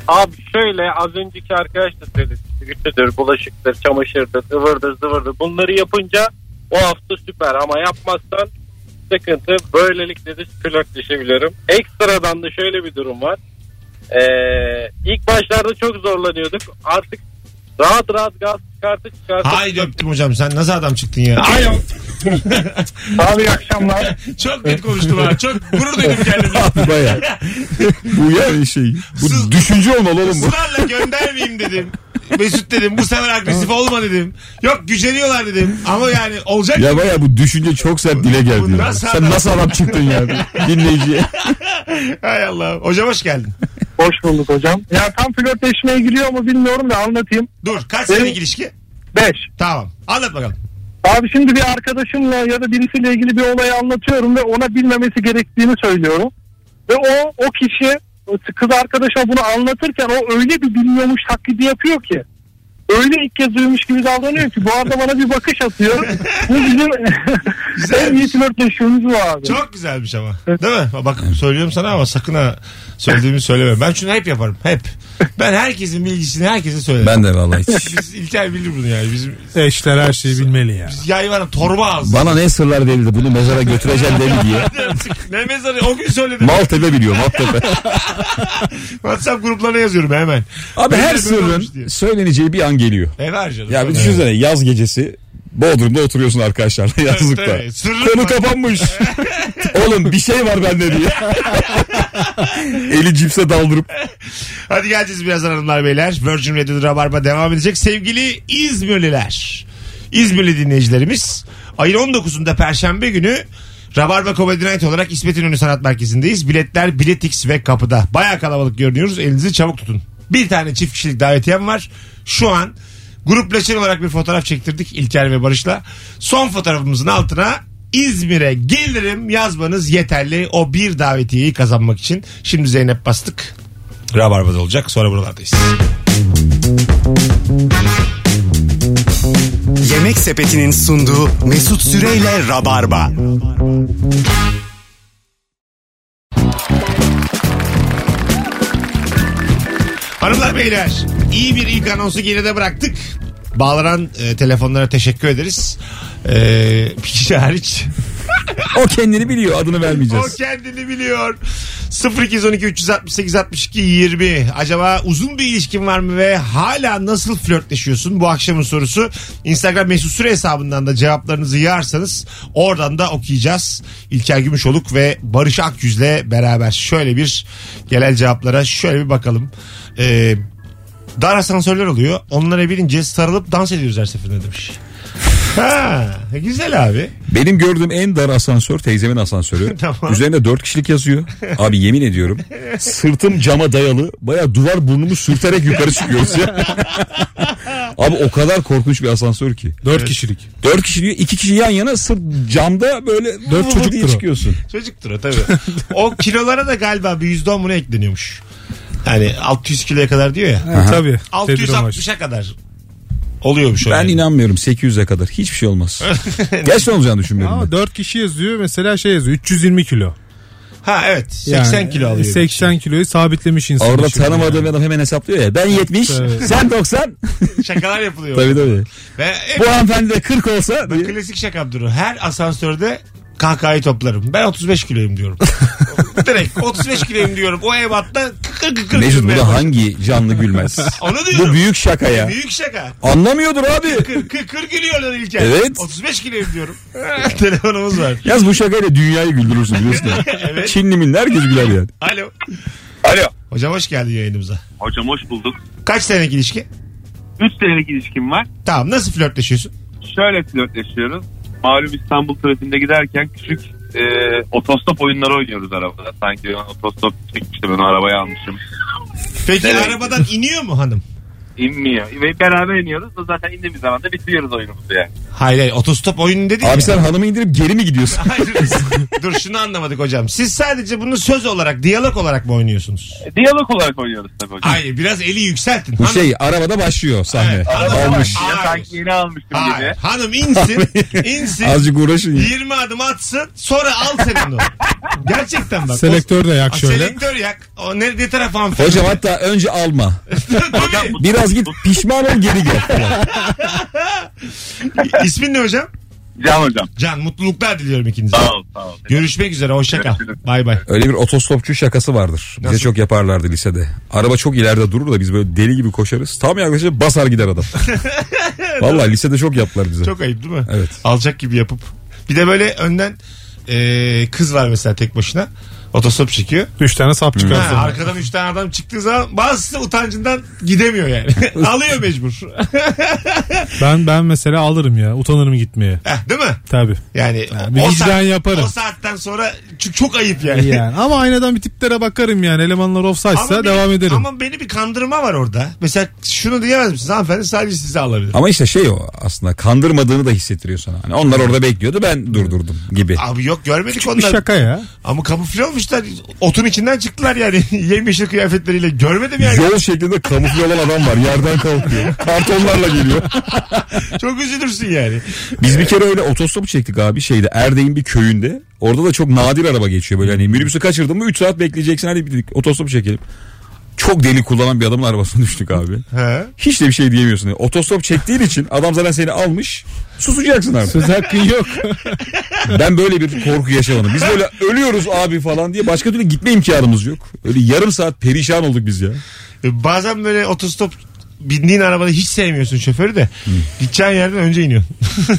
[SPEAKER 6] Abi şöyle az önceki arkadaş da söyledi. Ütüdür, bulaşıktır, çamaşırdır, ıvırdır, zıvırdır. Bunları yapınca o hafta süper ama yapmazsan sıkıntı. Böylelikle de flörtleşebilirim. Ekstradan da şöyle bir durum var. Ee, ilk başlarda çok zorlanıyorduk. Artık rahat rahat gaz çıkartı çıkartı.
[SPEAKER 2] Haydi öptüm hocam sen nasıl adam çıktın ya? Alo.
[SPEAKER 5] Abi iyi akşamlar.
[SPEAKER 2] Çok net konuştum ha. Çok gurur duydum kendime.
[SPEAKER 3] Abi baya. Bu yani şey. Bu
[SPEAKER 2] Sız-
[SPEAKER 3] düşünce olmalı oğlum bu.
[SPEAKER 2] Israrla göndermeyeyim dedim. Mesut dedim bu sefer agresif olma dedim. Yok güceniyorlar dedim. Ama yani olacak
[SPEAKER 3] Ya baya bu düşünce çok sert dile
[SPEAKER 2] Bu
[SPEAKER 3] geldi. ya.
[SPEAKER 2] nasıl adam?
[SPEAKER 3] Sen nasıl adam çıktın yani dinleyiciye?
[SPEAKER 2] Hay Allah. Hocam hoş geldin.
[SPEAKER 5] Hoş bulduk hocam. Ya tam flörtleşmeye giriyor mu bilmiyorum da anlatayım.
[SPEAKER 2] Dur kaç
[SPEAKER 5] Benim-
[SPEAKER 2] senelik ilişki?
[SPEAKER 5] 5.
[SPEAKER 2] Tamam. Anlat bakalım.
[SPEAKER 5] Abi şimdi bir arkadaşımla ya da birisiyle ilgili bir olayı anlatıyorum ve ona bilmemesi gerektiğini söylüyorum. Ve o o kişi kız arkadaşa bunu anlatırken o öyle bir bilmiyormuş taklidi yapıyor ki. Öyle ilk kez duymuş gibi davranıyor ki bu arada bana bir bakış atıyor. Bu bizim en iyi flörtleşiyoruz bu abi.
[SPEAKER 2] Çok güzelmiş ama. Değil mi? Bak söylüyorum sana ama sakın ha söylediğimi söyleme. Ben şunu hep yaparım. Hep. Ben herkesin bilgisini herkese söylerim.
[SPEAKER 3] Ben de vallahi hiç.
[SPEAKER 2] Biz İlker bilir bunu yani. Bizim
[SPEAKER 4] Eşler her şeyi bilmeli ya.
[SPEAKER 2] yayvanın torba ağzı.
[SPEAKER 3] Bana ne sırlar verildi bunu mezara götüreceğim dedi diye.
[SPEAKER 2] ne mezarı o gün söyledim.
[SPEAKER 3] Maltepe biliyor Maltepe.
[SPEAKER 2] WhatsApp gruplarına yazıyorum hemen.
[SPEAKER 3] Abi
[SPEAKER 2] Böyle
[SPEAKER 3] her
[SPEAKER 2] böyle olmuş diye.
[SPEAKER 3] sırrın söyleneceği bir an geliyor.
[SPEAKER 2] E var canım.
[SPEAKER 3] Ya bir düşünsene yaz gecesi Bodrum'da oturuyorsun arkadaşlarla yazlıkta.
[SPEAKER 2] tabii. Sırrın var.
[SPEAKER 3] Konu kapanmış. Oğlum bir şey var bende diye. Eli cipse daldırıp.
[SPEAKER 2] Hadi geleceğiz birazdan hanımlar beyler. Virgin Radio Rabarba devam edecek. Sevgili İzmirliler. İzmirli dinleyicilerimiz. Ayın 19'unda Perşembe günü Rabarba Comedy Night olarak İsmet İnönü Sanat Merkezi'ndeyiz. Biletler Biletix ve kapıda. Baya kalabalık görünüyoruz. Elinizi çabuk tutun. Bir tane çift kişilik davetiyem var. Şu an gruplaşır olarak bir fotoğraf çektirdik İlker ve Barış'la. Son fotoğrafımızın altına İzmir'e gelirim yazmanız yeterli o bir davetiyeyi kazanmak için. Şimdi Zeynep bastık. Rabarba'da olacak. Sonra buralardayız.
[SPEAKER 1] Yemek Sepeti'nin sunduğu Mesut Süreyle Rabarba.
[SPEAKER 2] Hanımlar beyler iyi bir ilk anonsu geride bıraktık. Bağlanan e, telefonlara teşekkür ederiz. E, bir kişi hariç.
[SPEAKER 3] O kendini biliyor adını
[SPEAKER 2] o
[SPEAKER 3] vermeyeceğiz.
[SPEAKER 2] kendini biliyor. 0212 368 62 20. Acaba uzun bir ilişkin var mı ve hala nasıl flörtleşiyorsun? Bu akşamın sorusu. Instagram mesut süre hesabından da cevaplarınızı yığarsanız oradan da okuyacağız. İlker Gümüşoluk ve Barış Akyüz'le beraber şöyle bir gelen cevaplara şöyle bir bakalım. Ee, dar asansörler oluyor. Onlara binince sarılıp dans ediyoruz her seferinde demiş. Ha, güzel abi.
[SPEAKER 3] Benim gördüğüm en dar asansör teyzemin asansörü.
[SPEAKER 2] Tamam.
[SPEAKER 3] Üzerinde dört kişilik yazıyor. Abi yemin ediyorum sırtım cama dayalı. Baya duvar burnumu sürterek yukarı çıkıyoruz ya. Abi o kadar korkunç bir asansör ki.
[SPEAKER 4] Dört kişilik.
[SPEAKER 3] Dört kişi diyor iki kişi yan yana sırt camda böyle
[SPEAKER 4] Dört
[SPEAKER 3] vı vı
[SPEAKER 4] çocuktur
[SPEAKER 3] diye
[SPEAKER 4] o.
[SPEAKER 3] çıkıyorsun.
[SPEAKER 2] Çocuktur o tabii. o kilolara da galiba bir yüzde on buna ekleniyormuş. Yani 600 kiloya kadar diyor ya.
[SPEAKER 4] Ha, tabii. Tedbir amaçlı.
[SPEAKER 2] 660'a kadar oluyormuş öyle.
[SPEAKER 3] Ben inanmıyorum 800'e kadar hiçbir şey olmaz. Gerçekten olacağını düşünmüyorum ben.
[SPEAKER 4] Ama 4 kişi yazıyor mesela şey yazıyor 320 kilo.
[SPEAKER 2] Ha evet 80
[SPEAKER 4] Yani,
[SPEAKER 2] kilo alıyor.
[SPEAKER 4] 80 kiloyu sabitlemiş insan.
[SPEAKER 3] Orada
[SPEAKER 4] şimdi
[SPEAKER 3] tanımadığım
[SPEAKER 4] yani.
[SPEAKER 3] adam hemen hesaplıyor ya. Ben 70,
[SPEAKER 4] Tabii.
[SPEAKER 3] sen 90.
[SPEAKER 2] Şakalar yapılıyor.
[SPEAKER 3] tabii tabii.
[SPEAKER 2] Ve hep
[SPEAKER 3] Bu hanımefendi de 40 olsa. diye.
[SPEAKER 2] klasik şakamdır o. Her asansörde kahkahayı toplarım. Ben 35 kiloyum diyorum. Direkt 35 kiloyum diyorum. O ebatta kıkır kıkır
[SPEAKER 3] Mesut
[SPEAKER 2] gülmeye
[SPEAKER 3] bu da
[SPEAKER 2] başlar.
[SPEAKER 3] hangi canlı gülmez?
[SPEAKER 2] Onu diyorum.
[SPEAKER 3] bu büyük şaka ya.
[SPEAKER 2] Büyük şaka.
[SPEAKER 3] Anlamıyordur abi.
[SPEAKER 2] Kır, kır, kır gülüyorlar İlker.
[SPEAKER 3] Evet.
[SPEAKER 2] 35 kiloyum diyorum. Telefonumuz var.
[SPEAKER 3] Yaz bu şakayla dünyayı güldürürsün biliyorsun. ya.
[SPEAKER 2] Evet.
[SPEAKER 3] Çinli mi herkes güler yani.
[SPEAKER 2] Alo.
[SPEAKER 7] Alo.
[SPEAKER 2] Hocam hoş geldin yayınımıza.
[SPEAKER 8] Hocam hoş bulduk.
[SPEAKER 2] Kaç senelik ilişki?
[SPEAKER 8] 3 senelik ilişkim var.
[SPEAKER 2] Tamam nasıl flörtleşiyorsun?
[SPEAKER 8] Şöyle flörtleşiyoruz. Malum İstanbul trafiğinde giderken küçük e, otostop oyunları oynuyoruz arabada. Sanki ben otostop çekmiştim ben o arabayı almışım.
[SPEAKER 2] Peki e,
[SPEAKER 8] Evet.
[SPEAKER 2] arabadan iniyor mu hanım?
[SPEAKER 8] İnmiyor. Ve beraber iniyoruz. O Zaten indiğimiz zaman da bitiriyoruz oyunumuzu yani.
[SPEAKER 2] Hayır hayır otostop oyunu dedi ya.
[SPEAKER 3] Abi sen hanımı indirip geri mi gidiyorsun?
[SPEAKER 2] Hayır. Dur şunu anlamadık hocam. Siz sadece bunu söz olarak, diyalog olarak mı oynuyorsunuz?
[SPEAKER 8] E, Diyalog olarak oynuyoruz tabii hocam.
[SPEAKER 2] Hayır biraz eli yükseltin.
[SPEAKER 3] Bu
[SPEAKER 2] Hanım-
[SPEAKER 3] şey arabada başlıyor sahne.
[SPEAKER 2] Evet, arabada
[SPEAKER 3] Olmuş.
[SPEAKER 2] başlıyor.
[SPEAKER 8] Ya
[SPEAKER 2] Hayır.
[SPEAKER 8] sanki yeni almıştım gibi.
[SPEAKER 2] Hayır. Hanım insin, insin.
[SPEAKER 3] Azıcık uğraşın. ya.
[SPEAKER 2] 20 adım atsın sonra al sen onu. Gerçekten bak.
[SPEAKER 4] Selektör de yak
[SPEAKER 2] O-
[SPEAKER 4] şöyle.
[SPEAKER 2] Selektör yak. O ne, ne taraf hanımefendi?
[SPEAKER 3] Hocam hatta önce alma.
[SPEAKER 2] Hocam,
[SPEAKER 3] Biraz git pişman ol geri gel. falan.
[SPEAKER 2] İsmin ne hocam?
[SPEAKER 8] Can hocam.
[SPEAKER 2] Can mutluluklar diliyorum ikinize.
[SPEAKER 8] Sağ ol sağ ol.
[SPEAKER 2] Görüşmek üzere hoşça kal. Bay bay.
[SPEAKER 3] Öyle bir otostopçu şakası vardır. Bize
[SPEAKER 2] Nasıl?
[SPEAKER 3] çok yaparlardı lisede. Araba çok ileride durur da biz böyle deli gibi koşarız. Tam yaklaşıp basar gider adam. Vallahi lisede çok yaptılar bize.
[SPEAKER 2] Çok ayıp değil mi?
[SPEAKER 3] Evet.
[SPEAKER 2] Alacak gibi yapıp. Bir de böyle önden e, kız var mesela tek başına. Otostop çekiyor.
[SPEAKER 4] 3 tane sap
[SPEAKER 2] Ha,
[SPEAKER 4] çıkarsın.
[SPEAKER 2] arkadan üç tane adam çıktığı zaman bazısı utancından gidemiyor yani. Alıyor mecbur.
[SPEAKER 4] Ben ben mesela alırım ya. Utanırım gitmeye.
[SPEAKER 2] Heh, Değil mi?
[SPEAKER 4] Tabii.
[SPEAKER 2] Yani
[SPEAKER 4] bir
[SPEAKER 2] o,
[SPEAKER 4] vicdan
[SPEAKER 2] saat-
[SPEAKER 4] yaparım.
[SPEAKER 2] o saatten sonra çok, çok ayıp yani.
[SPEAKER 4] Yani. Ama aynadan bir tiplere bakarım yani. Elemanlar offside'sa
[SPEAKER 2] beni-
[SPEAKER 4] devam ederim.
[SPEAKER 2] Ama beni bir kandırma var orada. Mesela şunu diyemez misiniz? Hanımefendi sadece sizi alabilir.
[SPEAKER 3] Ama işte şey o aslında kandırmadığını da hissettiriyor sana. Hani onlar orada bekliyordu ben durdurdum gibi.
[SPEAKER 2] Abi yok görmedik
[SPEAKER 4] bir
[SPEAKER 2] onlar.
[SPEAKER 4] şaka ya.
[SPEAKER 2] Ama kamufle olmuşlar. Otun içinden çıktılar yani. Yemyeşil kıyafetleriyle. Görmedim yani.
[SPEAKER 3] Yol şeklinde kamufle olan adam var yerden kalkıyor. Kartonlarla geliyor.
[SPEAKER 2] Çok üzülürsün yani.
[SPEAKER 3] Biz bir kere öyle otostop çektik abi şeyde Erdek'in bir köyünde. Orada da çok nadir araba geçiyor böyle hani minibüsü kaçırdın mı 3 saat bekleyeceksin hadi bir otostop çekelim. Çok deli kullanan bir adamın arabasına düştük abi.
[SPEAKER 2] He.
[SPEAKER 3] Hiç de bir şey diyemiyorsun. Yani Otostop çektiğin için adam zaten seni almış. Susacaksın abi.
[SPEAKER 4] Söz hakkın yok.
[SPEAKER 3] Ben böyle bir korku yaşamadım. Biz böyle ölüyoruz abi falan diye başka türlü gitme imkanımız yok. Öyle yarım saat perişan olduk biz ya.
[SPEAKER 2] E, Bazen böyle otostop bindiğin arabada hiç sevmiyorsun şoförü de. Gideceğin yerden önce iniyorsun.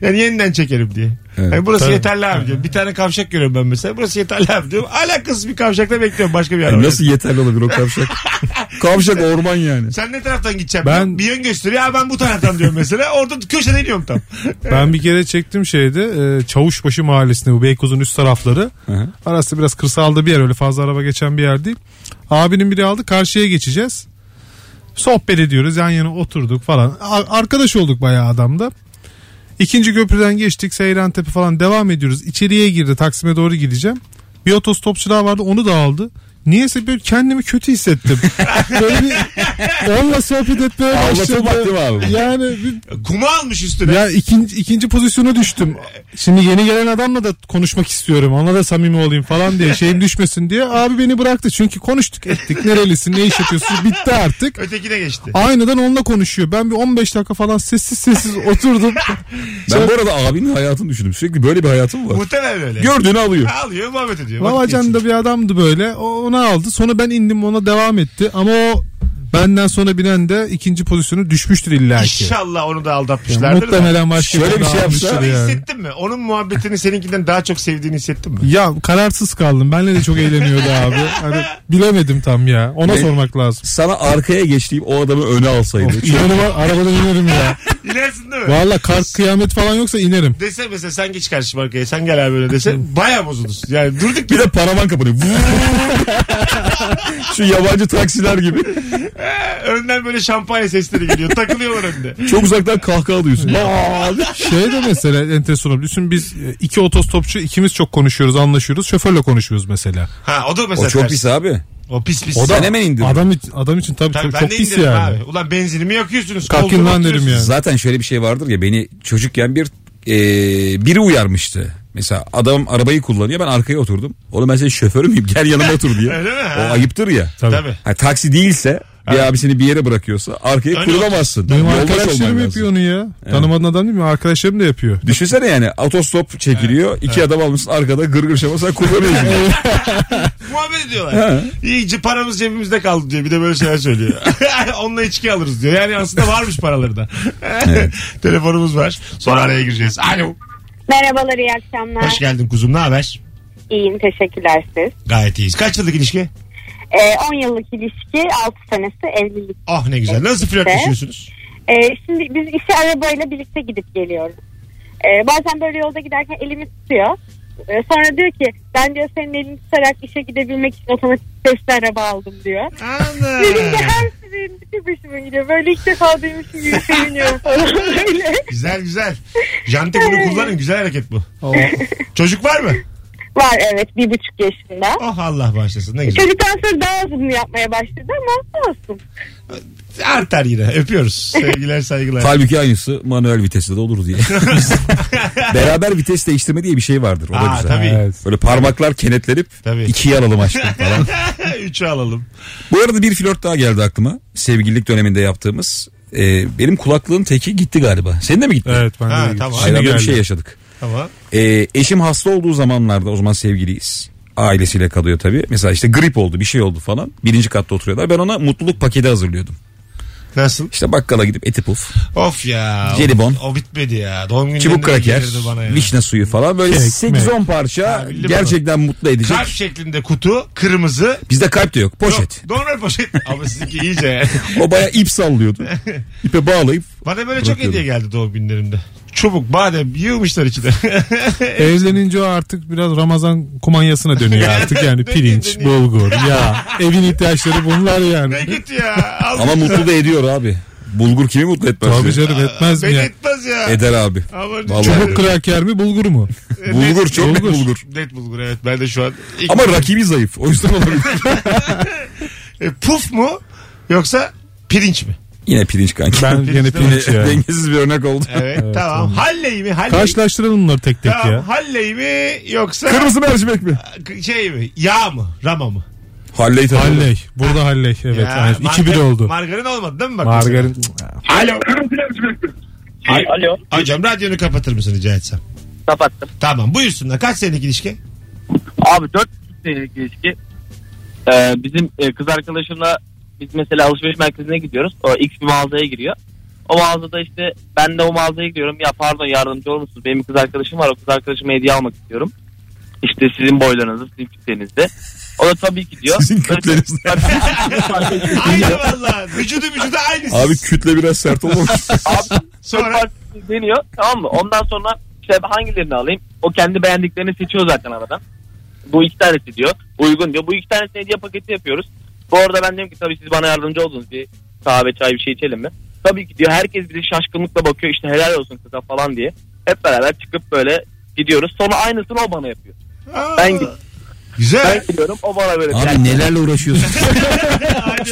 [SPEAKER 2] yani yeniden çekerim diye.
[SPEAKER 3] Evet.
[SPEAKER 2] Yani burası yeterli abi diyorum. Bir tane kavşak görüyorum ben mesela. Burası yeterli abi diyorum. Alakasız bir kavşakta bekliyorum başka bir araba.
[SPEAKER 3] Yani nasıl yeterli olabilir o kavşak? kavşak orman yani.
[SPEAKER 2] Sen ne taraftan gideceksin?
[SPEAKER 4] Ben-
[SPEAKER 2] Bir yön gösteriyor. Ha ben bu taraftan diyorum mesela. Orada köşede iniyorum tam.
[SPEAKER 4] Ben bir kere çektim şeyde e, Çavuşbaşı mahallesinde bu Beykoz'un üst tarafları.
[SPEAKER 3] hı.
[SPEAKER 4] Arası biraz kırsalda bir yer öyle fazla araba geçen bir yer değil. Abinin biri aldı karşıya geçeceğiz. Sohbet ediyoruz yan yana oturduk falan. A- arkadaş olduk bayağı adamda. İkinci köprüden geçtik Seyran Tepe falan devam ediyoruz. İçeriye girdi Taksim'e doğru gideceğim. Bir otostopçu daha vardı onu da aldı. Niyeyse böyle kendimi kötü hissettim. böyle bir onunla sohbet etmeye başladım.
[SPEAKER 3] Ağlatılmak değil mi abi?
[SPEAKER 4] Yani bir
[SPEAKER 2] Kuma almış üstüne.
[SPEAKER 4] ya ikinci, ikinci pozisyona düştüm. Şimdi yeni gelen adamla da konuşmak istiyorum. Ona da samimi olayım falan diye. Şeyim düşmesin diye. Abi beni bıraktı. Çünkü konuştuk ettik. Nerelisin? Ne iş yapıyorsun? Bitti artık.
[SPEAKER 2] Ötekine geçti.
[SPEAKER 4] Aynadan onunla konuşuyor. Ben bir 15 dakika falan sessiz sessiz oturdum.
[SPEAKER 3] Ben bu arada abinin hayatını düşündüm. Sürekli böyle bir hayatım var.
[SPEAKER 2] Muhtemelen öyle.
[SPEAKER 3] Gördüğünü alıyor.
[SPEAKER 2] Alıyor muhabbet ediyor. Vakit
[SPEAKER 4] Babacan da bir adamdı böyle. O ona aldı. Sonra ben indim ona devam etti. Ama o benden sonra binen de ikinci pozisyonu düşmüştür illa ki.
[SPEAKER 2] İnşallah onu da aldatmışlardır. da.
[SPEAKER 4] Muhtemelen başka
[SPEAKER 3] Şöyle bir şey
[SPEAKER 4] almıştır
[SPEAKER 3] yapsa-
[SPEAKER 2] Onu
[SPEAKER 4] yani.
[SPEAKER 2] hissettin mi? Onun muhabbetini seninkinden daha çok sevdiğini hissettin mi?
[SPEAKER 4] Ya kararsız kaldım. Benle de çok eğleniyordu abi. Hani bilemedim tam ya. Ona
[SPEAKER 3] Ne?
[SPEAKER 4] sormak lazım.
[SPEAKER 3] Sana arkaya geç deyip o adamı öne alsaydı. Çünkü
[SPEAKER 4] İnanıma arabadan inerim ya.
[SPEAKER 2] İlersin değil mi?
[SPEAKER 4] Valla kar kıyamet falan yoksa inerim.
[SPEAKER 2] Dese mesela sen geç karşı arkaya sen gel abi böyle dese baya bozulursun. Yani durduk
[SPEAKER 3] bir de paravan kapanıyor. Şu yabancı taksiler gibi.
[SPEAKER 2] önden böyle şampanya sesleri geliyor. Takılıyor önünde.
[SPEAKER 3] Çok uzaktan kahkaha duyuyorsun.
[SPEAKER 4] Şey de mesela enteresan olabilir. Şimdi biz e, iki otostopçu ikimiz çok konuşuyoruz anlaşıyoruz. Şoförle konuşuyoruz mesela.
[SPEAKER 2] Ha o da mesela
[SPEAKER 3] o çok
[SPEAKER 2] ters.
[SPEAKER 3] pis abi.
[SPEAKER 2] O pis pis.
[SPEAKER 3] O da hemen indirir.
[SPEAKER 4] Adam, için- adam için tabii,
[SPEAKER 2] Tabii
[SPEAKER 4] çok,
[SPEAKER 2] ben
[SPEAKER 4] çok
[SPEAKER 2] de
[SPEAKER 4] pis
[SPEAKER 2] indiririm
[SPEAKER 4] yani.
[SPEAKER 2] abi. Ulan benzinimi yakıyorsunuz.
[SPEAKER 4] Kalkın lan
[SPEAKER 2] koltuğuma
[SPEAKER 4] derim
[SPEAKER 2] oturuyorsunuz.
[SPEAKER 4] yani.
[SPEAKER 3] Zaten şöyle bir şey vardır ya beni çocukken bir e, biri uyarmıştı. Mesela adam arabayı kullanıyor ben arkaya oturdum. Oğlum ben senin şoförü müyüm gel yanıma otur diye.
[SPEAKER 2] Öyle mi?
[SPEAKER 3] O ayıptır ya.
[SPEAKER 4] Tabii.
[SPEAKER 2] Tabii.
[SPEAKER 3] Ha, taksi değilse bir abisini bir yere bırakıyorsa arkaya
[SPEAKER 2] Önü
[SPEAKER 3] kurulamazsın.
[SPEAKER 4] Benim
[SPEAKER 3] Yoldaş
[SPEAKER 4] arkadaşlarım
[SPEAKER 3] olman
[SPEAKER 4] yapıyor
[SPEAKER 3] lazım.
[SPEAKER 4] onu ya. Tanımadığın adam değil mi? Arkadaşlarım da yapıyor.
[SPEAKER 3] Düşünsene yani otostop çekiliyor. iki adam almışsın arkada gırgır şama sen kullanıyorsun.
[SPEAKER 2] Muhabbet ediyorlar. İyice paramız cebimizde kaldı diyor. Bir de böyle şeyler söylüyor. Onunla içki alırız diyor. Yani aslında varmış paraları da. Telefonumuz var. Sonra araya gireceğiz. Alo.
[SPEAKER 9] Merhabalar iyi akşamlar.
[SPEAKER 2] Hoş geldin kuzum. Ne haber?
[SPEAKER 9] İyiyim teşekkürler siz.
[SPEAKER 2] Gayet iyiyiz. Kaç yıllık ilişki?
[SPEAKER 9] Ee, 10 yıllık ilişki 6 senesi evlilik.
[SPEAKER 2] Ah ne güzel. Nasıl flörtleşiyorsunuz?
[SPEAKER 9] Ee, şimdi biz işe arabayla birlikte gidip geliyoruz. Ee, bazen böyle yolda giderken elimi tutuyor. Ee, sonra diyor ki ben diyor senin elini tutarak işe gidebilmek için otomatik sesli araba aldım diyor.
[SPEAKER 2] Ana.
[SPEAKER 9] Benim de her sürüğün bütün başıma gidiyor. Böyle ilk defa duymuşum gibi seviniyorum falan böyle.
[SPEAKER 2] Güzel güzel. Jante bunu kullanın. Güzel hareket bu. Çocuk var mı?
[SPEAKER 9] Var evet bir buçuk yaşında.
[SPEAKER 2] Oh Allah bağışlasın. Ne güzel.
[SPEAKER 9] Çocuktan sonra daha az bunu yapmaya başladı ama olsun.
[SPEAKER 2] Artar yine. Öpüyoruz. Sevgiler saygılar.
[SPEAKER 3] Halbuki aynısı manuel viteste de olur diye. Beraber vites değiştirme diye bir şey vardır. O da
[SPEAKER 2] Aa,
[SPEAKER 3] güzel.
[SPEAKER 2] tabii.
[SPEAKER 4] Evet.
[SPEAKER 3] Böyle parmaklar kenetlenip
[SPEAKER 2] Tabii.
[SPEAKER 3] ikiye alalım aşkım falan.
[SPEAKER 2] Üçü alalım.
[SPEAKER 3] Bu arada bir flört daha geldi aklıma. Sevgililik döneminde yaptığımız. Ee, benim kulaklığın teki gitti galiba. Senin de mi gitti?
[SPEAKER 4] Evet ben de
[SPEAKER 2] Ha,
[SPEAKER 4] gitti.
[SPEAKER 2] tamam.
[SPEAKER 4] Şimdi
[SPEAKER 3] Aynen böyle bir
[SPEAKER 4] geldi.
[SPEAKER 3] şey yaşadık.
[SPEAKER 2] Tamam.
[SPEAKER 3] Ee, eşim hasta olduğu zamanlarda o zaman sevgiliyiz. Ailesiyle kalıyor tabii. Mesela işte grip oldu bir şey oldu falan. Birinci katta oturuyorlar. Ben ona mutluluk paketi hazırlıyordum.
[SPEAKER 2] Nasıl?
[SPEAKER 3] İşte bakkala gidip eti puf,
[SPEAKER 2] Of ya.
[SPEAKER 3] Jelibon.
[SPEAKER 2] O, o bitmedi ya. Doğum günlerinde
[SPEAKER 3] çubuk kraker,
[SPEAKER 2] gelirdi bana ya.
[SPEAKER 3] vişne suyu falan. Böyle
[SPEAKER 4] Ekmek.
[SPEAKER 3] 8-10 parça
[SPEAKER 2] Ha, bildim
[SPEAKER 3] gerçekten mutlu edecek.
[SPEAKER 2] Kalp şeklinde kutu kırmızı.
[SPEAKER 3] Bizde kalp de yok poşet.
[SPEAKER 2] Yok, normal poşet. Ama sizinki iyice.
[SPEAKER 3] O baya ip sallıyordu. İpe bağlayıp
[SPEAKER 2] Bana böyle çok
[SPEAKER 3] Bırakıyorum.
[SPEAKER 2] hediye geldi doğum günlerimde. Çubuk, badem yığmışlar içine.
[SPEAKER 4] Evlenince o artık biraz Ramazan kumanyasına dönüyor artık. Yani pirinç,
[SPEAKER 2] Dönüyor,
[SPEAKER 4] bulgur, yağ. Evin ihtiyaçları bunlar yani.
[SPEAKER 2] ne git ya. Al.
[SPEAKER 3] ama mutlu da ediyor abi. Bulgur kimi mutlu etmez?
[SPEAKER 4] Tabii
[SPEAKER 3] diyor.
[SPEAKER 4] canım etmez mi
[SPEAKER 2] Beni
[SPEAKER 4] ya?
[SPEAKER 2] etmez ya.
[SPEAKER 3] Eder abi.
[SPEAKER 2] Ama
[SPEAKER 3] Vallahi.
[SPEAKER 4] Çubuk kraker mi bulgur mu?
[SPEAKER 3] Bulgur çok net bulgur.
[SPEAKER 2] Net bulgur evet. Ben de şu an. ilk-
[SPEAKER 3] Ama rakibi zayıf. O yüzden olabilir.
[SPEAKER 2] E, puf mu yoksa pirinç mi?
[SPEAKER 3] Yine pirinç kanki.
[SPEAKER 4] Ben yine pirinç ya.
[SPEAKER 3] Dengesiz bir örnek oldu.
[SPEAKER 2] Evet, tamam. Halley mi? Halley.
[SPEAKER 4] Karşılaştıralım bunları tek tek
[SPEAKER 2] Tamam.
[SPEAKER 4] ya.
[SPEAKER 2] Halley mi yoksa
[SPEAKER 3] Kırmızı mercimek mi?
[SPEAKER 2] şey mi? Yağ mı? Rama mı?
[SPEAKER 3] Halley tabii.
[SPEAKER 4] Halley. Burada Halley. Evet.
[SPEAKER 2] Ya,
[SPEAKER 4] yani iki bir
[SPEAKER 2] margarin-
[SPEAKER 4] oldu.
[SPEAKER 2] Margarin olmadı değil mi? Bak
[SPEAKER 4] Margarin.
[SPEAKER 2] Alo.
[SPEAKER 6] Alo.
[SPEAKER 2] Hocam radyonu kapatır mısın rica etsem?
[SPEAKER 6] Kapattım.
[SPEAKER 2] Tamam buyursunlar. Kaç senelik ilişki?
[SPEAKER 6] Abi 4 senelik ilişki. Ee, bizim e, kız arkadaşımla biz mesela alışveriş merkezine gidiyoruz. O X bir mağazaya giriyor. O mağazada işte ben de o mağazaya gidiyorum. Ya pardon yardımcı olur musunuz? Benim kız arkadaşım var. O kız arkadaşıma hediye almak istiyorum. İşte sizin boylarınızda, sizin kütlenizde. O da tabii ki diyor.
[SPEAKER 3] Sizin kütlenizde.
[SPEAKER 2] aynı valla. Vücudu vücuda aynısı.
[SPEAKER 3] Abi kütle biraz sert olmamış.
[SPEAKER 6] Abi
[SPEAKER 2] Sonra-
[SPEAKER 6] sonra deniyor tamam mı? Ondan sonra işte hangilerini alayım? O kendi beğendiklerini seçiyor zaten aradan. Bu iki tanesi diyor. Uygun diyor. Bu iki tanesini hediye paketi yapıyoruz. Bu arada ben diyorum ki tabii siz bana yardımcı oldunuz. Bir kahve çay bir şey içelim mi? Tabii ki diyor. Herkes bize şaşkınlıkla bakıyor. İşte helal olsun kıza falan diye. Hep beraber çıkıp böyle gidiyoruz. Sonra aynısını o bana yapıyor.
[SPEAKER 2] Aa,
[SPEAKER 6] Ben git- Ben
[SPEAKER 2] Güzel.
[SPEAKER 6] gidiyorum. O bana böyle.
[SPEAKER 3] abi
[SPEAKER 6] Yani
[SPEAKER 3] nelerle uğraşıyorsun?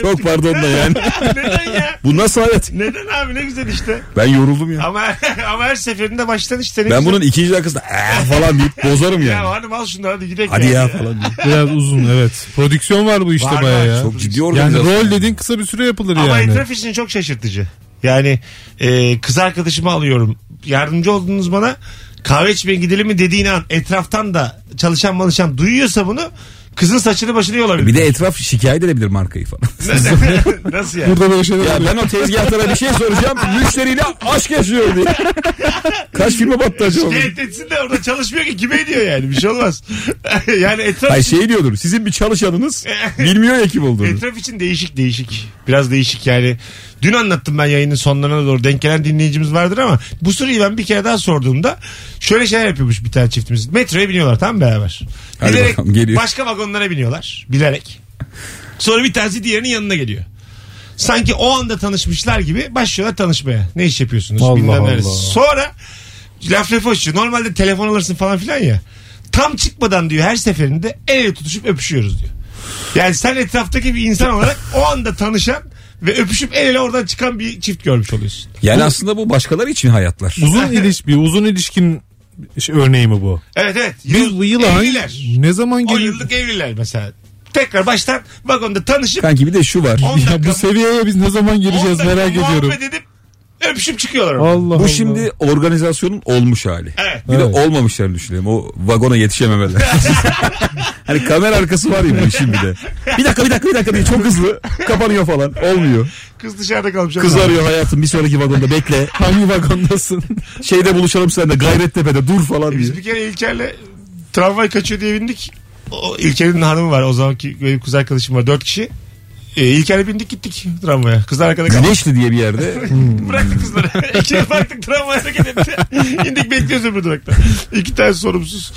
[SPEAKER 3] Çok pardon da yani.
[SPEAKER 2] Neden ya?
[SPEAKER 3] Bu nasıl hayat?
[SPEAKER 2] Neden abi ne güzel işte.
[SPEAKER 3] Ben yoruldum ya.
[SPEAKER 2] Ama ama her seferinde baştan işte ne
[SPEAKER 3] Ben
[SPEAKER 2] güzel.
[SPEAKER 3] bunun ikinci dakikasında "Ee" falan deyip bozarım
[SPEAKER 2] ya
[SPEAKER 3] yani.
[SPEAKER 2] hanım al şunu hadi gidelim.
[SPEAKER 3] Hadi ya falan diye.
[SPEAKER 4] Biraz uzun evet. Prodüksiyon var bu işte
[SPEAKER 2] Var,
[SPEAKER 4] bayağı
[SPEAKER 2] var.
[SPEAKER 4] ya.
[SPEAKER 3] Çok ciddi
[SPEAKER 4] Yani
[SPEAKER 3] organizasyon.
[SPEAKER 4] rol dediğin kısa bir süre yapılır
[SPEAKER 2] Ama
[SPEAKER 4] yani.
[SPEAKER 2] itiraf için çok şaşırtıcı. Yani e, kız arkadaşımı alıyorum. Yardımcı oldunuz bana. Kahve içmeye gidelim mi dediğin an etraftan da çalışan malışan duyuyorsa bunu kızın saçını başını yolabilir.
[SPEAKER 3] Bir de etraf şikayet edebilir markayı falan.
[SPEAKER 2] Nasıl yani?
[SPEAKER 4] Burada böyle şeyler
[SPEAKER 3] Ya ben o tezgahtara bir şey soracağım. Müşteriyle aşk yaşıyor diye. Kaç filme battı acaba? bu?
[SPEAKER 2] Şikayet etsin de orada çalışmıyor ki kime ediyor yani bir şey olmaz. yani etraf,
[SPEAKER 3] Hayır şey diyordur. Sizin bir çalışanınız bilmiyor ya kim olduğunu.
[SPEAKER 2] etraf için değişik değişik. Biraz değişik yani. Dün anlattım ben yayının sonlarına doğru denk gelen dinleyicimiz vardır ama bu soruyu ben bir kere daha sorduğumda şöyle şeyler yapıyormuş bir tane çiftimiz. Metroya biniyorlar tamam mı beraber.
[SPEAKER 3] Hadi
[SPEAKER 2] bilerek
[SPEAKER 3] bakalım, geliyor.
[SPEAKER 2] başka vagonlara biniyorlar bilerek. Sonra bir tanesi diğerinin yanına geliyor. Sanki o anda tanışmışlar gibi başlıyorlar tanışmaya. Ne iş yapıyorsunuz?
[SPEAKER 4] Allah
[SPEAKER 2] Bilmem neresi.
[SPEAKER 4] Allah.
[SPEAKER 2] Sonra laf lafı açıyor. Normalde telefon alırsın falan filan ya. Tam çıkmadan diyor her seferinde el ele tutuşup öpüşüyoruz diyor. Yani sen etraftaki bir insan olarak o anda tanışan ve öpüşüp el ele oradan çıkan bir çift görmüş oluyorsun.
[SPEAKER 3] Yani aslında bu başkaları için hayatlar.
[SPEAKER 4] Uzun ilişki, bir uzun ilişkin iş- örneği mi bu?
[SPEAKER 2] Evet evet.
[SPEAKER 4] Biz bu yıl ay-
[SPEAKER 2] evliler.
[SPEAKER 4] ne zaman
[SPEAKER 2] O
[SPEAKER 4] gel
[SPEAKER 2] yıllık evliler mesela. tekrar baştan vagonda tanışıp
[SPEAKER 3] Kanki bir de şu var.
[SPEAKER 2] 10
[SPEAKER 4] Ya bu
[SPEAKER 2] dakika,
[SPEAKER 4] seviyeye biz ne zaman geleceğiz
[SPEAKER 2] 10 dakika
[SPEAKER 4] merak ediyorum.
[SPEAKER 2] muhabbet edip öpüşüp çıkıyorlar.
[SPEAKER 4] Allah
[SPEAKER 2] oradan.
[SPEAKER 4] Allah.
[SPEAKER 3] Bu şimdi organizasyonun olmuş hali.
[SPEAKER 2] Evet.
[SPEAKER 3] Bir
[SPEAKER 4] Evet.
[SPEAKER 3] de olmamışlarını düşünelim. O vagona yetişememeler. hani kamera arkası var ya bu işin bir de. Bir dakika bir dakika bir dakika diye çok hızlı kapanıyor falan. Olmuyor.
[SPEAKER 2] Kız dışarıda kalmış.
[SPEAKER 3] Kız arıyor hayatım bir sonraki vagonda bekle.
[SPEAKER 4] hangi vagondasın?
[SPEAKER 3] Şeyde buluşalım seninle Gayrettepe'de dur falan diye.
[SPEAKER 2] E, Biz bir kere İlker'le tramvay kaçıyor diye bindik. O, İlker'in hanımı var o zamanki benim kız arkadaşım var dört kişi. E, İlker'le bindik gittik tramvaya. Kızlar arkada kaldı.
[SPEAKER 3] Güneşli diye bir yerde.
[SPEAKER 2] Bıraktık kızları. İkiye bıraktık tramvay hareket etti. İndik bekliyoruz öbür durakta. İki tane sorumsuz.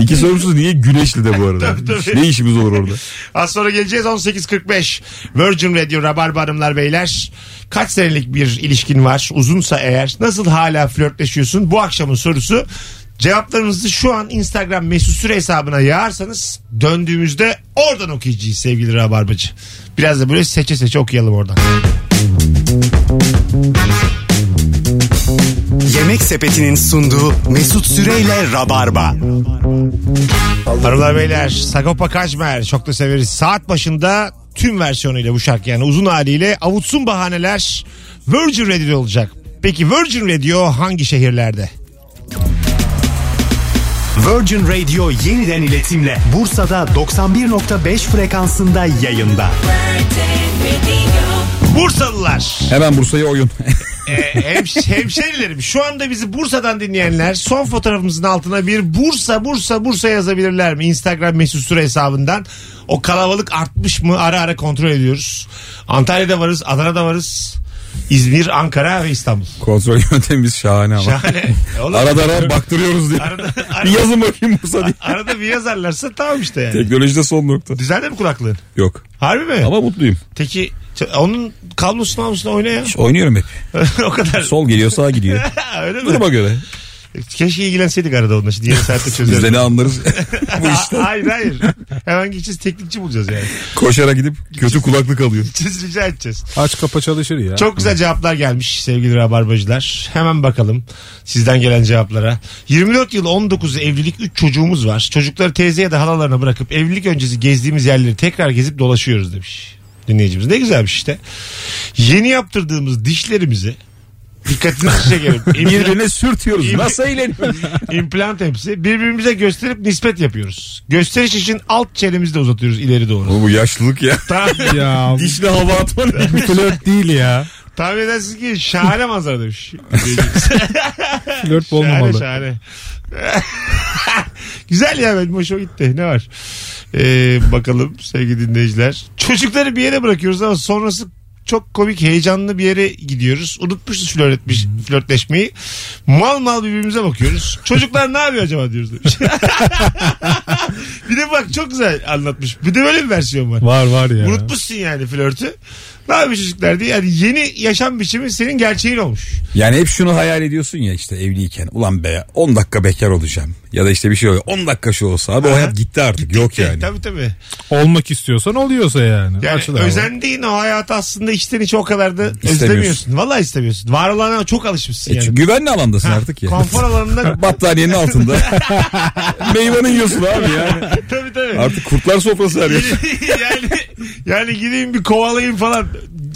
[SPEAKER 3] İki sorumsuz niye Güneşli de bu arada.
[SPEAKER 2] Tabii, tabii.
[SPEAKER 3] Ne işimiz olur orada?
[SPEAKER 2] Az sonra geleceğiz 18.45. Virgin Radio Rabarba Hanımlar Beyler. Kaç senelik bir ilişkin var? Uzunsa eğer nasıl hala flörtleşiyorsun? Bu akşamın sorusu. Cevaplarınızı şu an Instagram mesut süre hesabına yağarsanız döndüğümüzde oradan okuyacağız sevgili Rabarbacı. Biraz da böyle seçe seçe okuyalım oradan.
[SPEAKER 1] Yemek sepetinin sunduğu Mesut Süreyle Rabarba.
[SPEAKER 2] Hanımlar beyler Sagopa Kajmer çok da severiz. Saat başında tüm versiyonuyla bu şarkı yani uzun haliyle avutsun bahaneler Virgin Radio olacak. Peki Virgin Radio hangi şehirlerde?
[SPEAKER 1] Virgin Radio yeniden iletimle Bursa'da 91.5 frekansında yayında.
[SPEAKER 2] Bursalılar.
[SPEAKER 3] Hemen Bursa'ya oyun.
[SPEAKER 2] Ee, hemş- hemşerilerim şu anda bizi Bursa'dan dinleyenler son fotoğrafımızın altına bir Bursa Bursa Bursa yazabilirler mi? Instagram mesut süre hesabından. O kalabalık artmış mı ara ara kontrol ediyoruz. Antalya'da varız, Adana'da varız. İzmir, Ankara ve İstanbul.
[SPEAKER 3] Kontrol yöntemimiz şahane ama.
[SPEAKER 2] Şahane. Oğlum,
[SPEAKER 3] Arada ara baktırıyoruz diye.
[SPEAKER 2] Arada-
[SPEAKER 3] Bir yazın bakayım Bursa diye.
[SPEAKER 2] Arada bir yazarlarsa tamam işte yani.
[SPEAKER 3] Teknolojide son nokta.
[SPEAKER 2] Düzeldi mi kulaklığın?
[SPEAKER 3] Yok.
[SPEAKER 2] Harbi mi?
[SPEAKER 3] Ama mutluyum.
[SPEAKER 2] Teki onun kablosunu almışsın oyna ya.
[SPEAKER 3] Oynuyorum hep.
[SPEAKER 2] o kadar.
[SPEAKER 3] Sol geliyor sağ gidiyor.
[SPEAKER 2] Öyle mi?
[SPEAKER 3] Duruma göre.
[SPEAKER 2] Keşke ilgilenseydik arada onunla. Şimdi yeni saatte
[SPEAKER 3] Biz de
[SPEAKER 2] çözeriz.
[SPEAKER 3] ne anlarız bu
[SPEAKER 2] Ha-
[SPEAKER 3] işten.
[SPEAKER 2] hayır hayır. Hemen gideceğiz teknikçi bulacağız yani.
[SPEAKER 3] Koşara gidip kötü kulaklık alıyor.
[SPEAKER 2] Gideceğiz rica edeceğiz.
[SPEAKER 4] Aç kapa çalışır ya.
[SPEAKER 2] Çok güzel cevaplar gelmiş sevgili rabarbacılar. Hemen bakalım sizden gelen cevaplara. 24 yıl 19 evlilik 3 çocuğumuz var. Çocukları teyze ya da halalarına bırakıp evlilik öncesi gezdiğimiz yerleri tekrar gezip dolaşıyoruz demiş dinleyicimiz. Ne güzelmiş işte. Yeni yaptırdığımız dişlerimizi dikkatinizi çekerim. İmplant,
[SPEAKER 3] Birbirine sürtüyoruz. Nasıl eğleniyoruz?
[SPEAKER 2] implant hepsi. Birbirimize gösterip nispet yapıyoruz. Gösteriş için alt çenemizi de uzatıyoruz ileri doğru.
[SPEAKER 3] Oğlum bu yaşlılık ya.
[SPEAKER 2] Tamam.
[SPEAKER 4] Ya
[SPEAKER 3] Dişle hava atma ne?
[SPEAKER 4] bu flört değil ya.
[SPEAKER 2] Tahmin edersiniz ki şahane manzara demiş.
[SPEAKER 4] Flört
[SPEAKER 2] Şahane
[SPEAKER 4] olmamalı.
[SPEAKER 2] şahane. Güzel ya benim hoşuma gitti. Ne var? Ee, bakalım sevgili dinleyiciler. Çocukları bir yere bırakıyoruz ama sonrası çok komik heyecanlı bir yere gidiyoruz. Unutmuşuz flört etmiş, flörtleşmeyi. Mal mal birbirimize bakıyoruz. Çocuklar ne yapıyor acaba diyoruz. demiş. bir de bak çok güzel anlatmış. Bir de böyle bir versiyon var.
[SPEAKER 4] Var var ya.
[SPEAKER 2] Unutmuşsun yani flörtü. Ne yapıyor çocuklar diye. Yani yeni yaşam biçimi senin gerçeğin olmuş.
[SPEAKER 3] Yani hep şunu hayal ediyorsun ya işte evliyken. Ulan be 10 dakika bekar olacağım. Ya da işte bir şey oluyor. 10 dakika şu olsa. Abi o hayat gitti artık. Yok yani.
[SPEAKER 2] Şey, Tabii tabii.
[SPEAKER 4] Olmak istiyorsan oluyorsa yani.
[SPEAKER 2] Yani
[SPEAKER 4] Açıl abi.
[SPEAKER 2] özendiğin o hayatı aslında içten içe o kadar da
[SPEAKER 3] İstemiyorsun.
[SPEAKER 2] özlemiyorsun. Vallahi istemiyorsun. Var olana çok alışmışsın
[SPEAKER 3] E
[SPEAKER 2] yani.
[SPEAKER 3] çünkü güvenli alandasın artık ya.
[SPEAKER 2] Konfor alanında
[SPEAKER 3] Battaniyenin altında. Meyvanın yiyorsun abi yani.
[SPEAKER 2] tabii tabii.
[SPEAKER 3] Artık kurtlar sofrası her yer.
[SPEAKER 2] yani, yani gideyim bir kovalayayım falan.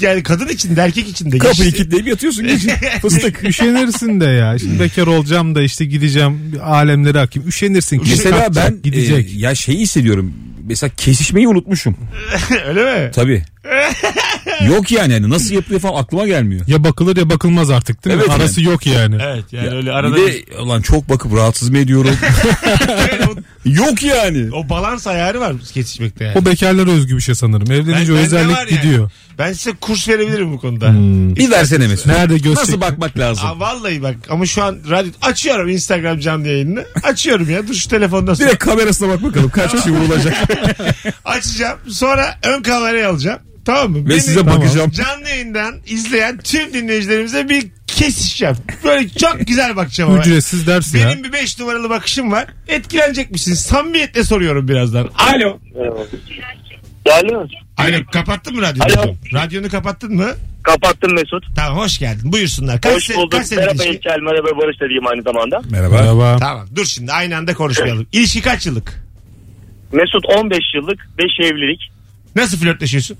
[SPEAKER 2] Yani kadın için de erkek için de.
[SPEAKER 3] Kapıyı
[SPEAKER 2] Geçti.
[SPEAKER 3] kilitleyip yatıyorsun. Geçin. Fıstık.
[SPEAKER 4] Üşenirsin de ya. Şimdi bekar olacağım da işte gideceğim bir alemlere hakim. Üşenirsin. ki.
[SPEAKER 3] Mesela
[SPEAKER 4] Kalkacak,
[SPEAKER 3] ben
[SPEAKER 4] Gidecek.
[SPEAKER 3] e, ya şeyi hissediyorum. Mesela kesişmeyi unutmuşum.
[SPEAKER 2] Öyle mi?
[SPEAKER 3] Tabii. Yok yani hani nasıl yapılıyor falan aklıma gelmiyor.
[SPEAKER 4] Ya bakılır ya bakılmaz artık değil mi?
[SPEAKER 3] Evet
[SPEAKER 4] Arası yok yani.
[SPEAKER 2] Evet yani öyle
[SPEAKER 3] Bir
[SPEAKER 2] arada bir-
[SPEAKER 3] de ulan çok bakıp rahatsız mı ediyorum? Yok yani.
[SPEAKER 2] o balans ayarı var kesişmekte yani.
[SPEAKER 4] O bekarlara özgü bir şey sanırım. Evlenince o
[SPEAKER 2] bende
[SPEAKER 4] özellik
[SPEAKER 2] var yani.
[SPEAKER 4] gidiyor.
[SPEAKER 2] Ben size kurs verebilirim bu konuda.
[SPEAKER 3] Hmm. Bir versene mesela.
[SPEAKER 4] Nerede göster?
[SPEAKER 3] Nasıl bakmak lazım?
[SPEAKER 2] Aa, vallahi bak ama şu an radyo açıyorum Instagram canlı yayınını. Açıyorum ya dur şu telefonda sonra.
[SPEAKER 3] Direkt kamerasına bak bakalım kaç kişi vurulacak.
[SPEAKER 2] Açacağım sonra ön kamerayı alacağım. Tamam mı?
[SPEAKER 3] Ve size bakacağım.
[SPEAKER 2] Canlı yayından izleyen tüm dinleyicilerimize bir kesişeceğim. Böyle çok güzel bakacağım. ama.
[SPEAKER 4] Ücretsiz ders ya.
[SPEAKER 2] Benim bir 5 numaralı bakışım var. Etkilenecek misin? Samimiyetle soruyorum birazdan. Alo.
[SPEAKER 7] Değerli mi?
[SPEAKER 2] Alo kapattın mı radyonu?
[SPEAKER 7] Alo.
[SPEAKER 2] Radyonu kapattın mı?
[SPEAKER 7] Kapattım Mesut.
[SPEAKER 2] Tamam hoş geldin. Buyursunlar. Kaç
[SPEAKER 7] Hoş
[SPEAKER 2] se-
[SPEAKER 7] bulduk.
[SPEAKER 2] Kaç senelik
[SPEAKER 7] Merhaba
[SPEAKER 2] ilişki?
[SPEAKER 7] İlker. Merhaba Barış dediğim aynı zamanda.
[SPEAKER 3] Merhaba.
[SPEAKER 4] Merhaba.
[SPEAKER 2] Tamam dur şimdi aynı anda konuşmayalım. İlişki kaç yıllık?
[SPEAKER 10] Mesut 15 yıllık 5 evlilik.
[SPEAKER 2] Nasıl flörtleşiyorsun?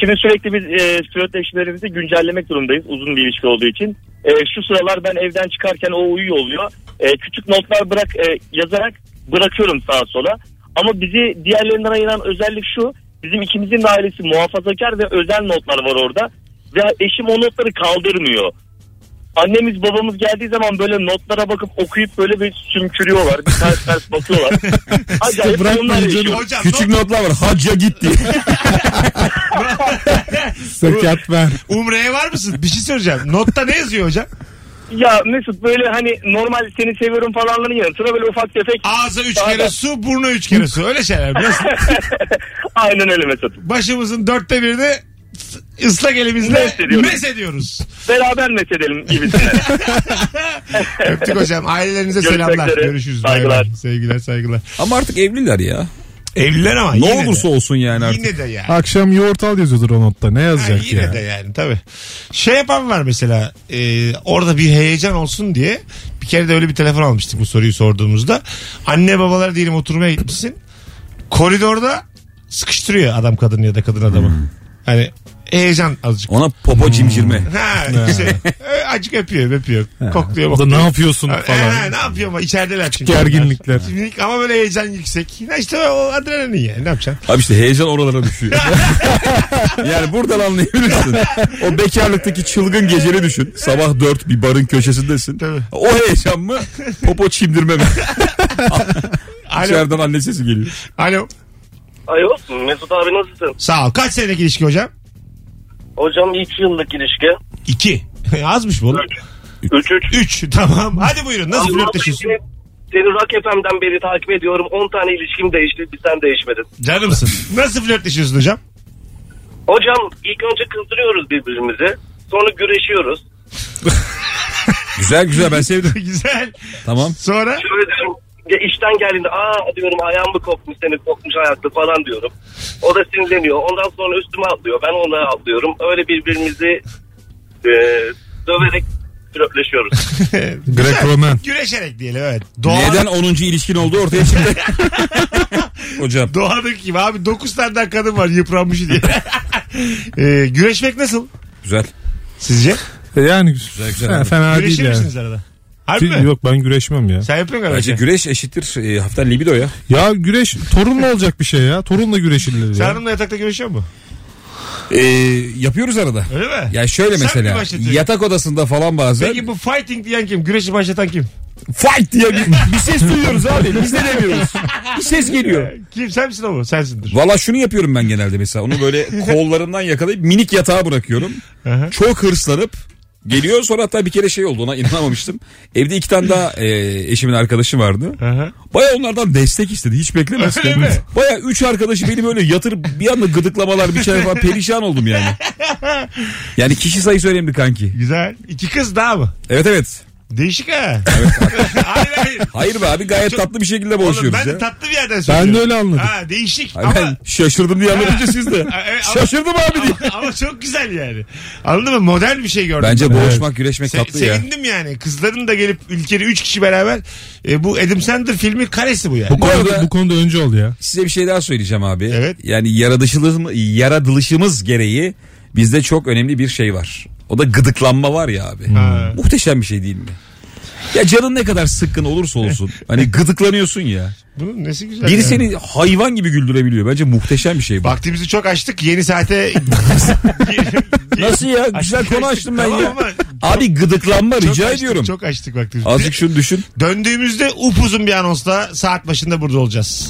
[SPEAKER 10] Şimdi sürekli biz e, flörtleşmelerimizi güncellemek durumdayız uzun bir ilişki olduğu için. E, şu sıralar ben evden çıkarken o uyuyor oluyor. E, küçük notlar bırak e, yazarak bırakıyorum sağa sola. Ama bizi diğerlerinden ayıran özellik şu. Bizim ikimizin de ailesi muhafazakar ve özel notlar var orada. Ve eşim o notları kaldırmıyor. Annemiz babamız geldiği zaman böyle notlara bakıp okuyup böyle bir sümkürüyorlar. Bir ters ters bakıyorlar. Acayip sorunlar
[SPEAKER 3] Bırakmayın canım.
[SPEAKER 10] yaşıyoruz.
[SPEAKER 2] Hocam,
[SPEAKER 3] Küçük
[SPEAKER 2] not-
[SPEAKER 3] notlar var. Hacca gitti.
[SPEAKER 4] Zekat ver.
[SPEAKER 2] Umre'ye var mısın? Bir şey söyleyeceğim. Notta ne yazıyor hocam?
[SPEAKER 10] Ya Mesut böyle hani normal seni seviyorum falanların yanı sıra böyle ufak tefek
[SPEAKER 2] Ağza üç
[SPEAKER 10] Daha
[SPEAKER 2] kere
[SPEAKER 10] da-
[SPEAKER 2] su, burnu üç kere su. Öyle şeyler. Nasıl?
[SPEAKER 10] Aynen öyle Mesut.
[SPEAKER 2] Başımızın dörtte birini ıslak elimizle
[SPEAKER 10] Mes ediyoruz.
[SPEAKER 2] mes ediyoruz.
[SPEAKER 10] Beraber mesedelim gibisine.
[SPEAKER 2] Öptük hocam. Ailelerinize
[SPEAKER 10] Görüşmek
[SPEAKER 2] selamlar.
[SPEAKER 10] üzere.
[SPEAKER 2] Görüşürüz. Bay bay.
[SPEAKER 10] Saygılar.
[SPEAKER 2] Sevgiler saygılar.
[SPEAKER 3] Ama artık evliler ya.
[SPEAKER 2] Evliler ama
[SPEAKER 3] Ne
[SPEAKER 2] yine
[SPEAKER 3] olursa
[SPEAKER 2] de.
[SPEAKER 3] olsun yani artık.
[SPEAKER 2] Yine de ya.
[SPEAKER 4] Akşam yoğurt al yazıyordur o notta. Ne
[SPEAKER 2] Ha,
[SPEAKER 4] yazacak
[SPEAKER 2] yine
[SPEAKER 4] ya?
[SPEAKER 2] de yani tabii. Şey yapan var mesela e, orada bir heyecan olsun diye bir kere de öyle bir telefon almıştık bu soruyu sorduğumuzda. Anne babalar diyelim oturmaya gitmişsin. Koridorda sıkıştırıyor adam kadını ya da kadın adamı.
[SPEAKER 4] Hmm.
[SPEAKER 2] Hani heyecan azıcık.
[SPEAKER 3] Ona popo cimcirme.
[SPEAKER 2] Ha, işte, Ö- azıcık öpüyor öpüyor. Kokluyor
[SPEAKER 4] O da
[SPEAKER 2] bakıyor.
[SPEAKER 4] ne yapıyorsun
[SPEAKER 2] Ha,
[SPEAKER 4] falan.
[SPEAKER 2] ne yapıyor ama içerideler çünkü.
[SPEAKER 4] Gerginlikler.
[SPEAKER 2] Minik Ama böyle heyecan yüksek. Ya işte o adrenalin yani ne yapacaksın?
[SPEAKER 3] Abi işte heyecan oralara düşüyor. yani buradan anlayabilirsin. O bekarlıktaki çılgın geceni düşün. Sabah dört bir barın köşesindesin.
[SPEAKER 2] Tabii.
[SPEAKER 3] O heyecan mı? Popo çimdirme mi?
[SPEAKER 2] Alo.
[SPEAKER 3] İçeriden anne sesi geliyor.
[SPEAKER 2] Alo.
[SPEAKER 10] Alo Mesut abi nasılsın?
[SPEAKER 2] Sağ ol. Kaç senelik ilişki hocam?
[SPEAKER 10] Hocam 2 yıllık ilişki.
[SPEAKER 2] İki. Azmış bu oğlum.
[SPEAKER 10] 3 3.
[SPEAKER 2] Üç. Tamam. Hadi buyurun. Nasıl flörtleşiyorsun?
[SPEAKER 10] Seni Rock FM'den beri takip ediyorum. 10 tane ilişkim değişti. Bir sen değişmedin.
[SPEAKER 2] Canımsın. Nasıl flörtleşiyorsun hocam?
[SPEAKER 10] Hocam ilk önce kızdırıyoruz birbirimizi. Sonra güreşiyoruz.
[SPEAKER 3] Güzel güzel ben sevdim.
[SPEAKER 2] Güzel.
[SPEAKER 3] Tamam.
[SPEAKER 2] Sonra
[SPEAKER 10] Şöyle diyorum. ya işten geldiğinde aa diyorum ayağım mı kopmuş senin kopmuş ayakta falan diyorum. O da sinirleniyor. Ondan sonra üstüme atlıyor. Ben ona atlıyorum. Öyle birbirimizi e, döverek flörtleşiyoruz.
[SPEAKER 4] Greg Roman.
[SPEAKER 2] e, güreşerek diyelim evet. Doğa,
[SPEAKER 3] Neden 10. ilişkin olduğu ortaya çıktı. Hocam.
[SPEAKER 2] Doğadaki gibi abi 9 tane daha kadın var yıpranmış diye. Ee, güreşmek nasıl
[SPEAKER 3] Güzel.
[SPEAKER 2] sizce?
[SPEAKER 4] E Yani
[SPEAKER 3] güzel.
[SPEAKER 4] fe- fena değil
[SPEAKER 2] Güreşir
[SPEAKER 4] yani.
[SPEAKER 2] misiniz arada? Harbi mi?
[SPEAKER 4] Yok ben güreşmem ya.
[SPEAKER 2] Sen yapıyor musun?
[SPEAKER 3] Bence
[SPEAKER 2] arada?
[SPEAKER 3] güreş eşittir e, hafta libido ya.
[SPEAKER 4] Ya güreş torunla olacak bir şey ya. Torunla güreşilir
[SPEAKER 2] Sen
[SPEAKER 4] ya.
[SPEAKER 2] hanımla yatakta görüşüyor mu?
[SPEAKER 3] E, yapıyoruz arada.
[SPEAKER 2] Öyle mi?
[SPEAKER 3] Ya şöyle
[SPEAKER 2] Sen mi
[SPEAKER 3] mesela
[SPEAKER 2] başlatıyorsun?
[SPEAKER 3] yatak odasında falan bazen
[SPEAKER 2] Peki bu fighting diyen kim? Güreşi başlatan kim?
[SPEAKER 3] fight diye bir, bir ses duyuyoruz abi biz de demiyoruz. Bir ses geliyor.
[SPEAKER 2] Kim? Sen misin o mu? Sensindir.
[SPEAKER 3] Valla şunu yapıyorum ben genelde mesela onu böyle kollarından yakalayıp minik yatağa bırakıyorum.
[SPEAKER 2] Aha.
[SPEAKER 3] Çok hırslanıp geliyor sonra hatta bir kere şey oldu ona inanamamıştım. Evde iki tane daha e, eşimin arkadaşı vardı.
[SPEAKER 2] Aha.
[SPEAKER 3] Baya onlardan destek istedi. Hiç beklemezdim.
[SPEAKER 2] Öyle mi?
[SPEAKER 3] Baya üç arkadaşı beni böyle yatırıp bir anda gıdıklamalar bir şey falan perişan oldum yani. Yani kişi sayısı önemli kanki.
[SPEAKER 2] Güzel. İki kız daha mı?
[SPEAKER 3] Evet evet.
[SPEAKER 2] Değişik ha. hayır hayır.
[SPEAKER 3] Hayır be abi gayet
[SPEAKER 2] Çok-
[SPEAKER 3] tatlı bir şekilde
[SPEAKER 2] Oğlum
[SPEAKER 3] boğuşuyoruz
[SPEAKER 2] ben de
[SPEAKER 3] ya.
[SPEAKER 2] tatlı bir yerden söylüyorum.
[SPEAKER 4] öyle anladım.
[SPEAKER 2] Ha, değişik
[SPEAKER 3] Hayır,
[SPEAKER 2] ama,
[SPEAKER 3] ben şaşırdım diye anlatınca siz de.
[SPEAKER 2] Ha, evet, ama-
[SPEAKER 3] Şaşırdım abi diye.
[SPEAKER 2] ama, ama çok güzel yani. Anladın mı? Modern bir şey gördüm.
[SPEAKER 3] Bence
[SPEAKER 2] ben.
[SPEAKER 3] boğuşmak, güreşmek
[SPEAKER 2] Se-
[SPEAKER 3] tatlı ya.
[SPEAKER 2] sevindim yani. Kızların da gelip ülkede 3 kişi beraber e, bu Adam Sandler filmi karesi bu yani.
[SPEAKER 4] Bu konuda,
[SPEAKER 3] arada-
[SPEAKER 4] bu konuda önce ol ya.
[SPEAKER 3] Size bir şey daha söyleyeceğim abi.
[SPEAKER 2] Evet.
[SPEAKER 3] Yani yaratışılığım- yaratılışımız gereği bizde çok önemli bir şey var. O da gıdıklanma var ya abi.
[SPEAKER 2] Ha.
[SPEAKER 3] Muhteşem bir şey değil mi? Ya canın ne kadar sıkkın olursa olsun. hani gıdıklanıyorsun ya.
[SPEAKER 2] Bunun nesi güzel.
[SPEAKER 3] Biri
[SPEAKER 2] yani.
[SPEAKER 3] seni hayvan gibi güldürebiliyor. Bence muhteşem bir şey bu.
[SPEAKER 2] Vaktimizi çok açtık. Yeni saate...
[SPEAKER 3] Nasıl ya? Güzel
[SPEAKER 2] Açtık,
[SPEAKER 3] konu açtım ben
[SPEAKER 2] tamam
[SPEAKER 3] ya.
[SPEAKER 2] ama
[SPEAKER 3] Abi gıdıklanma
[SPEAKER 2] çok
[SPEAKER 3] rica
[SPEAKER 2] açtık,
[SPEAKER 3] ediyorum.
[SPEAKER 2] Çok açtık vaktimizi.
[SPEAKER 3] Azıcık şunu düşün.
[SPEAKER 2] Döndüğümüzde upuzun bir anonsla saat başında burada olacağız.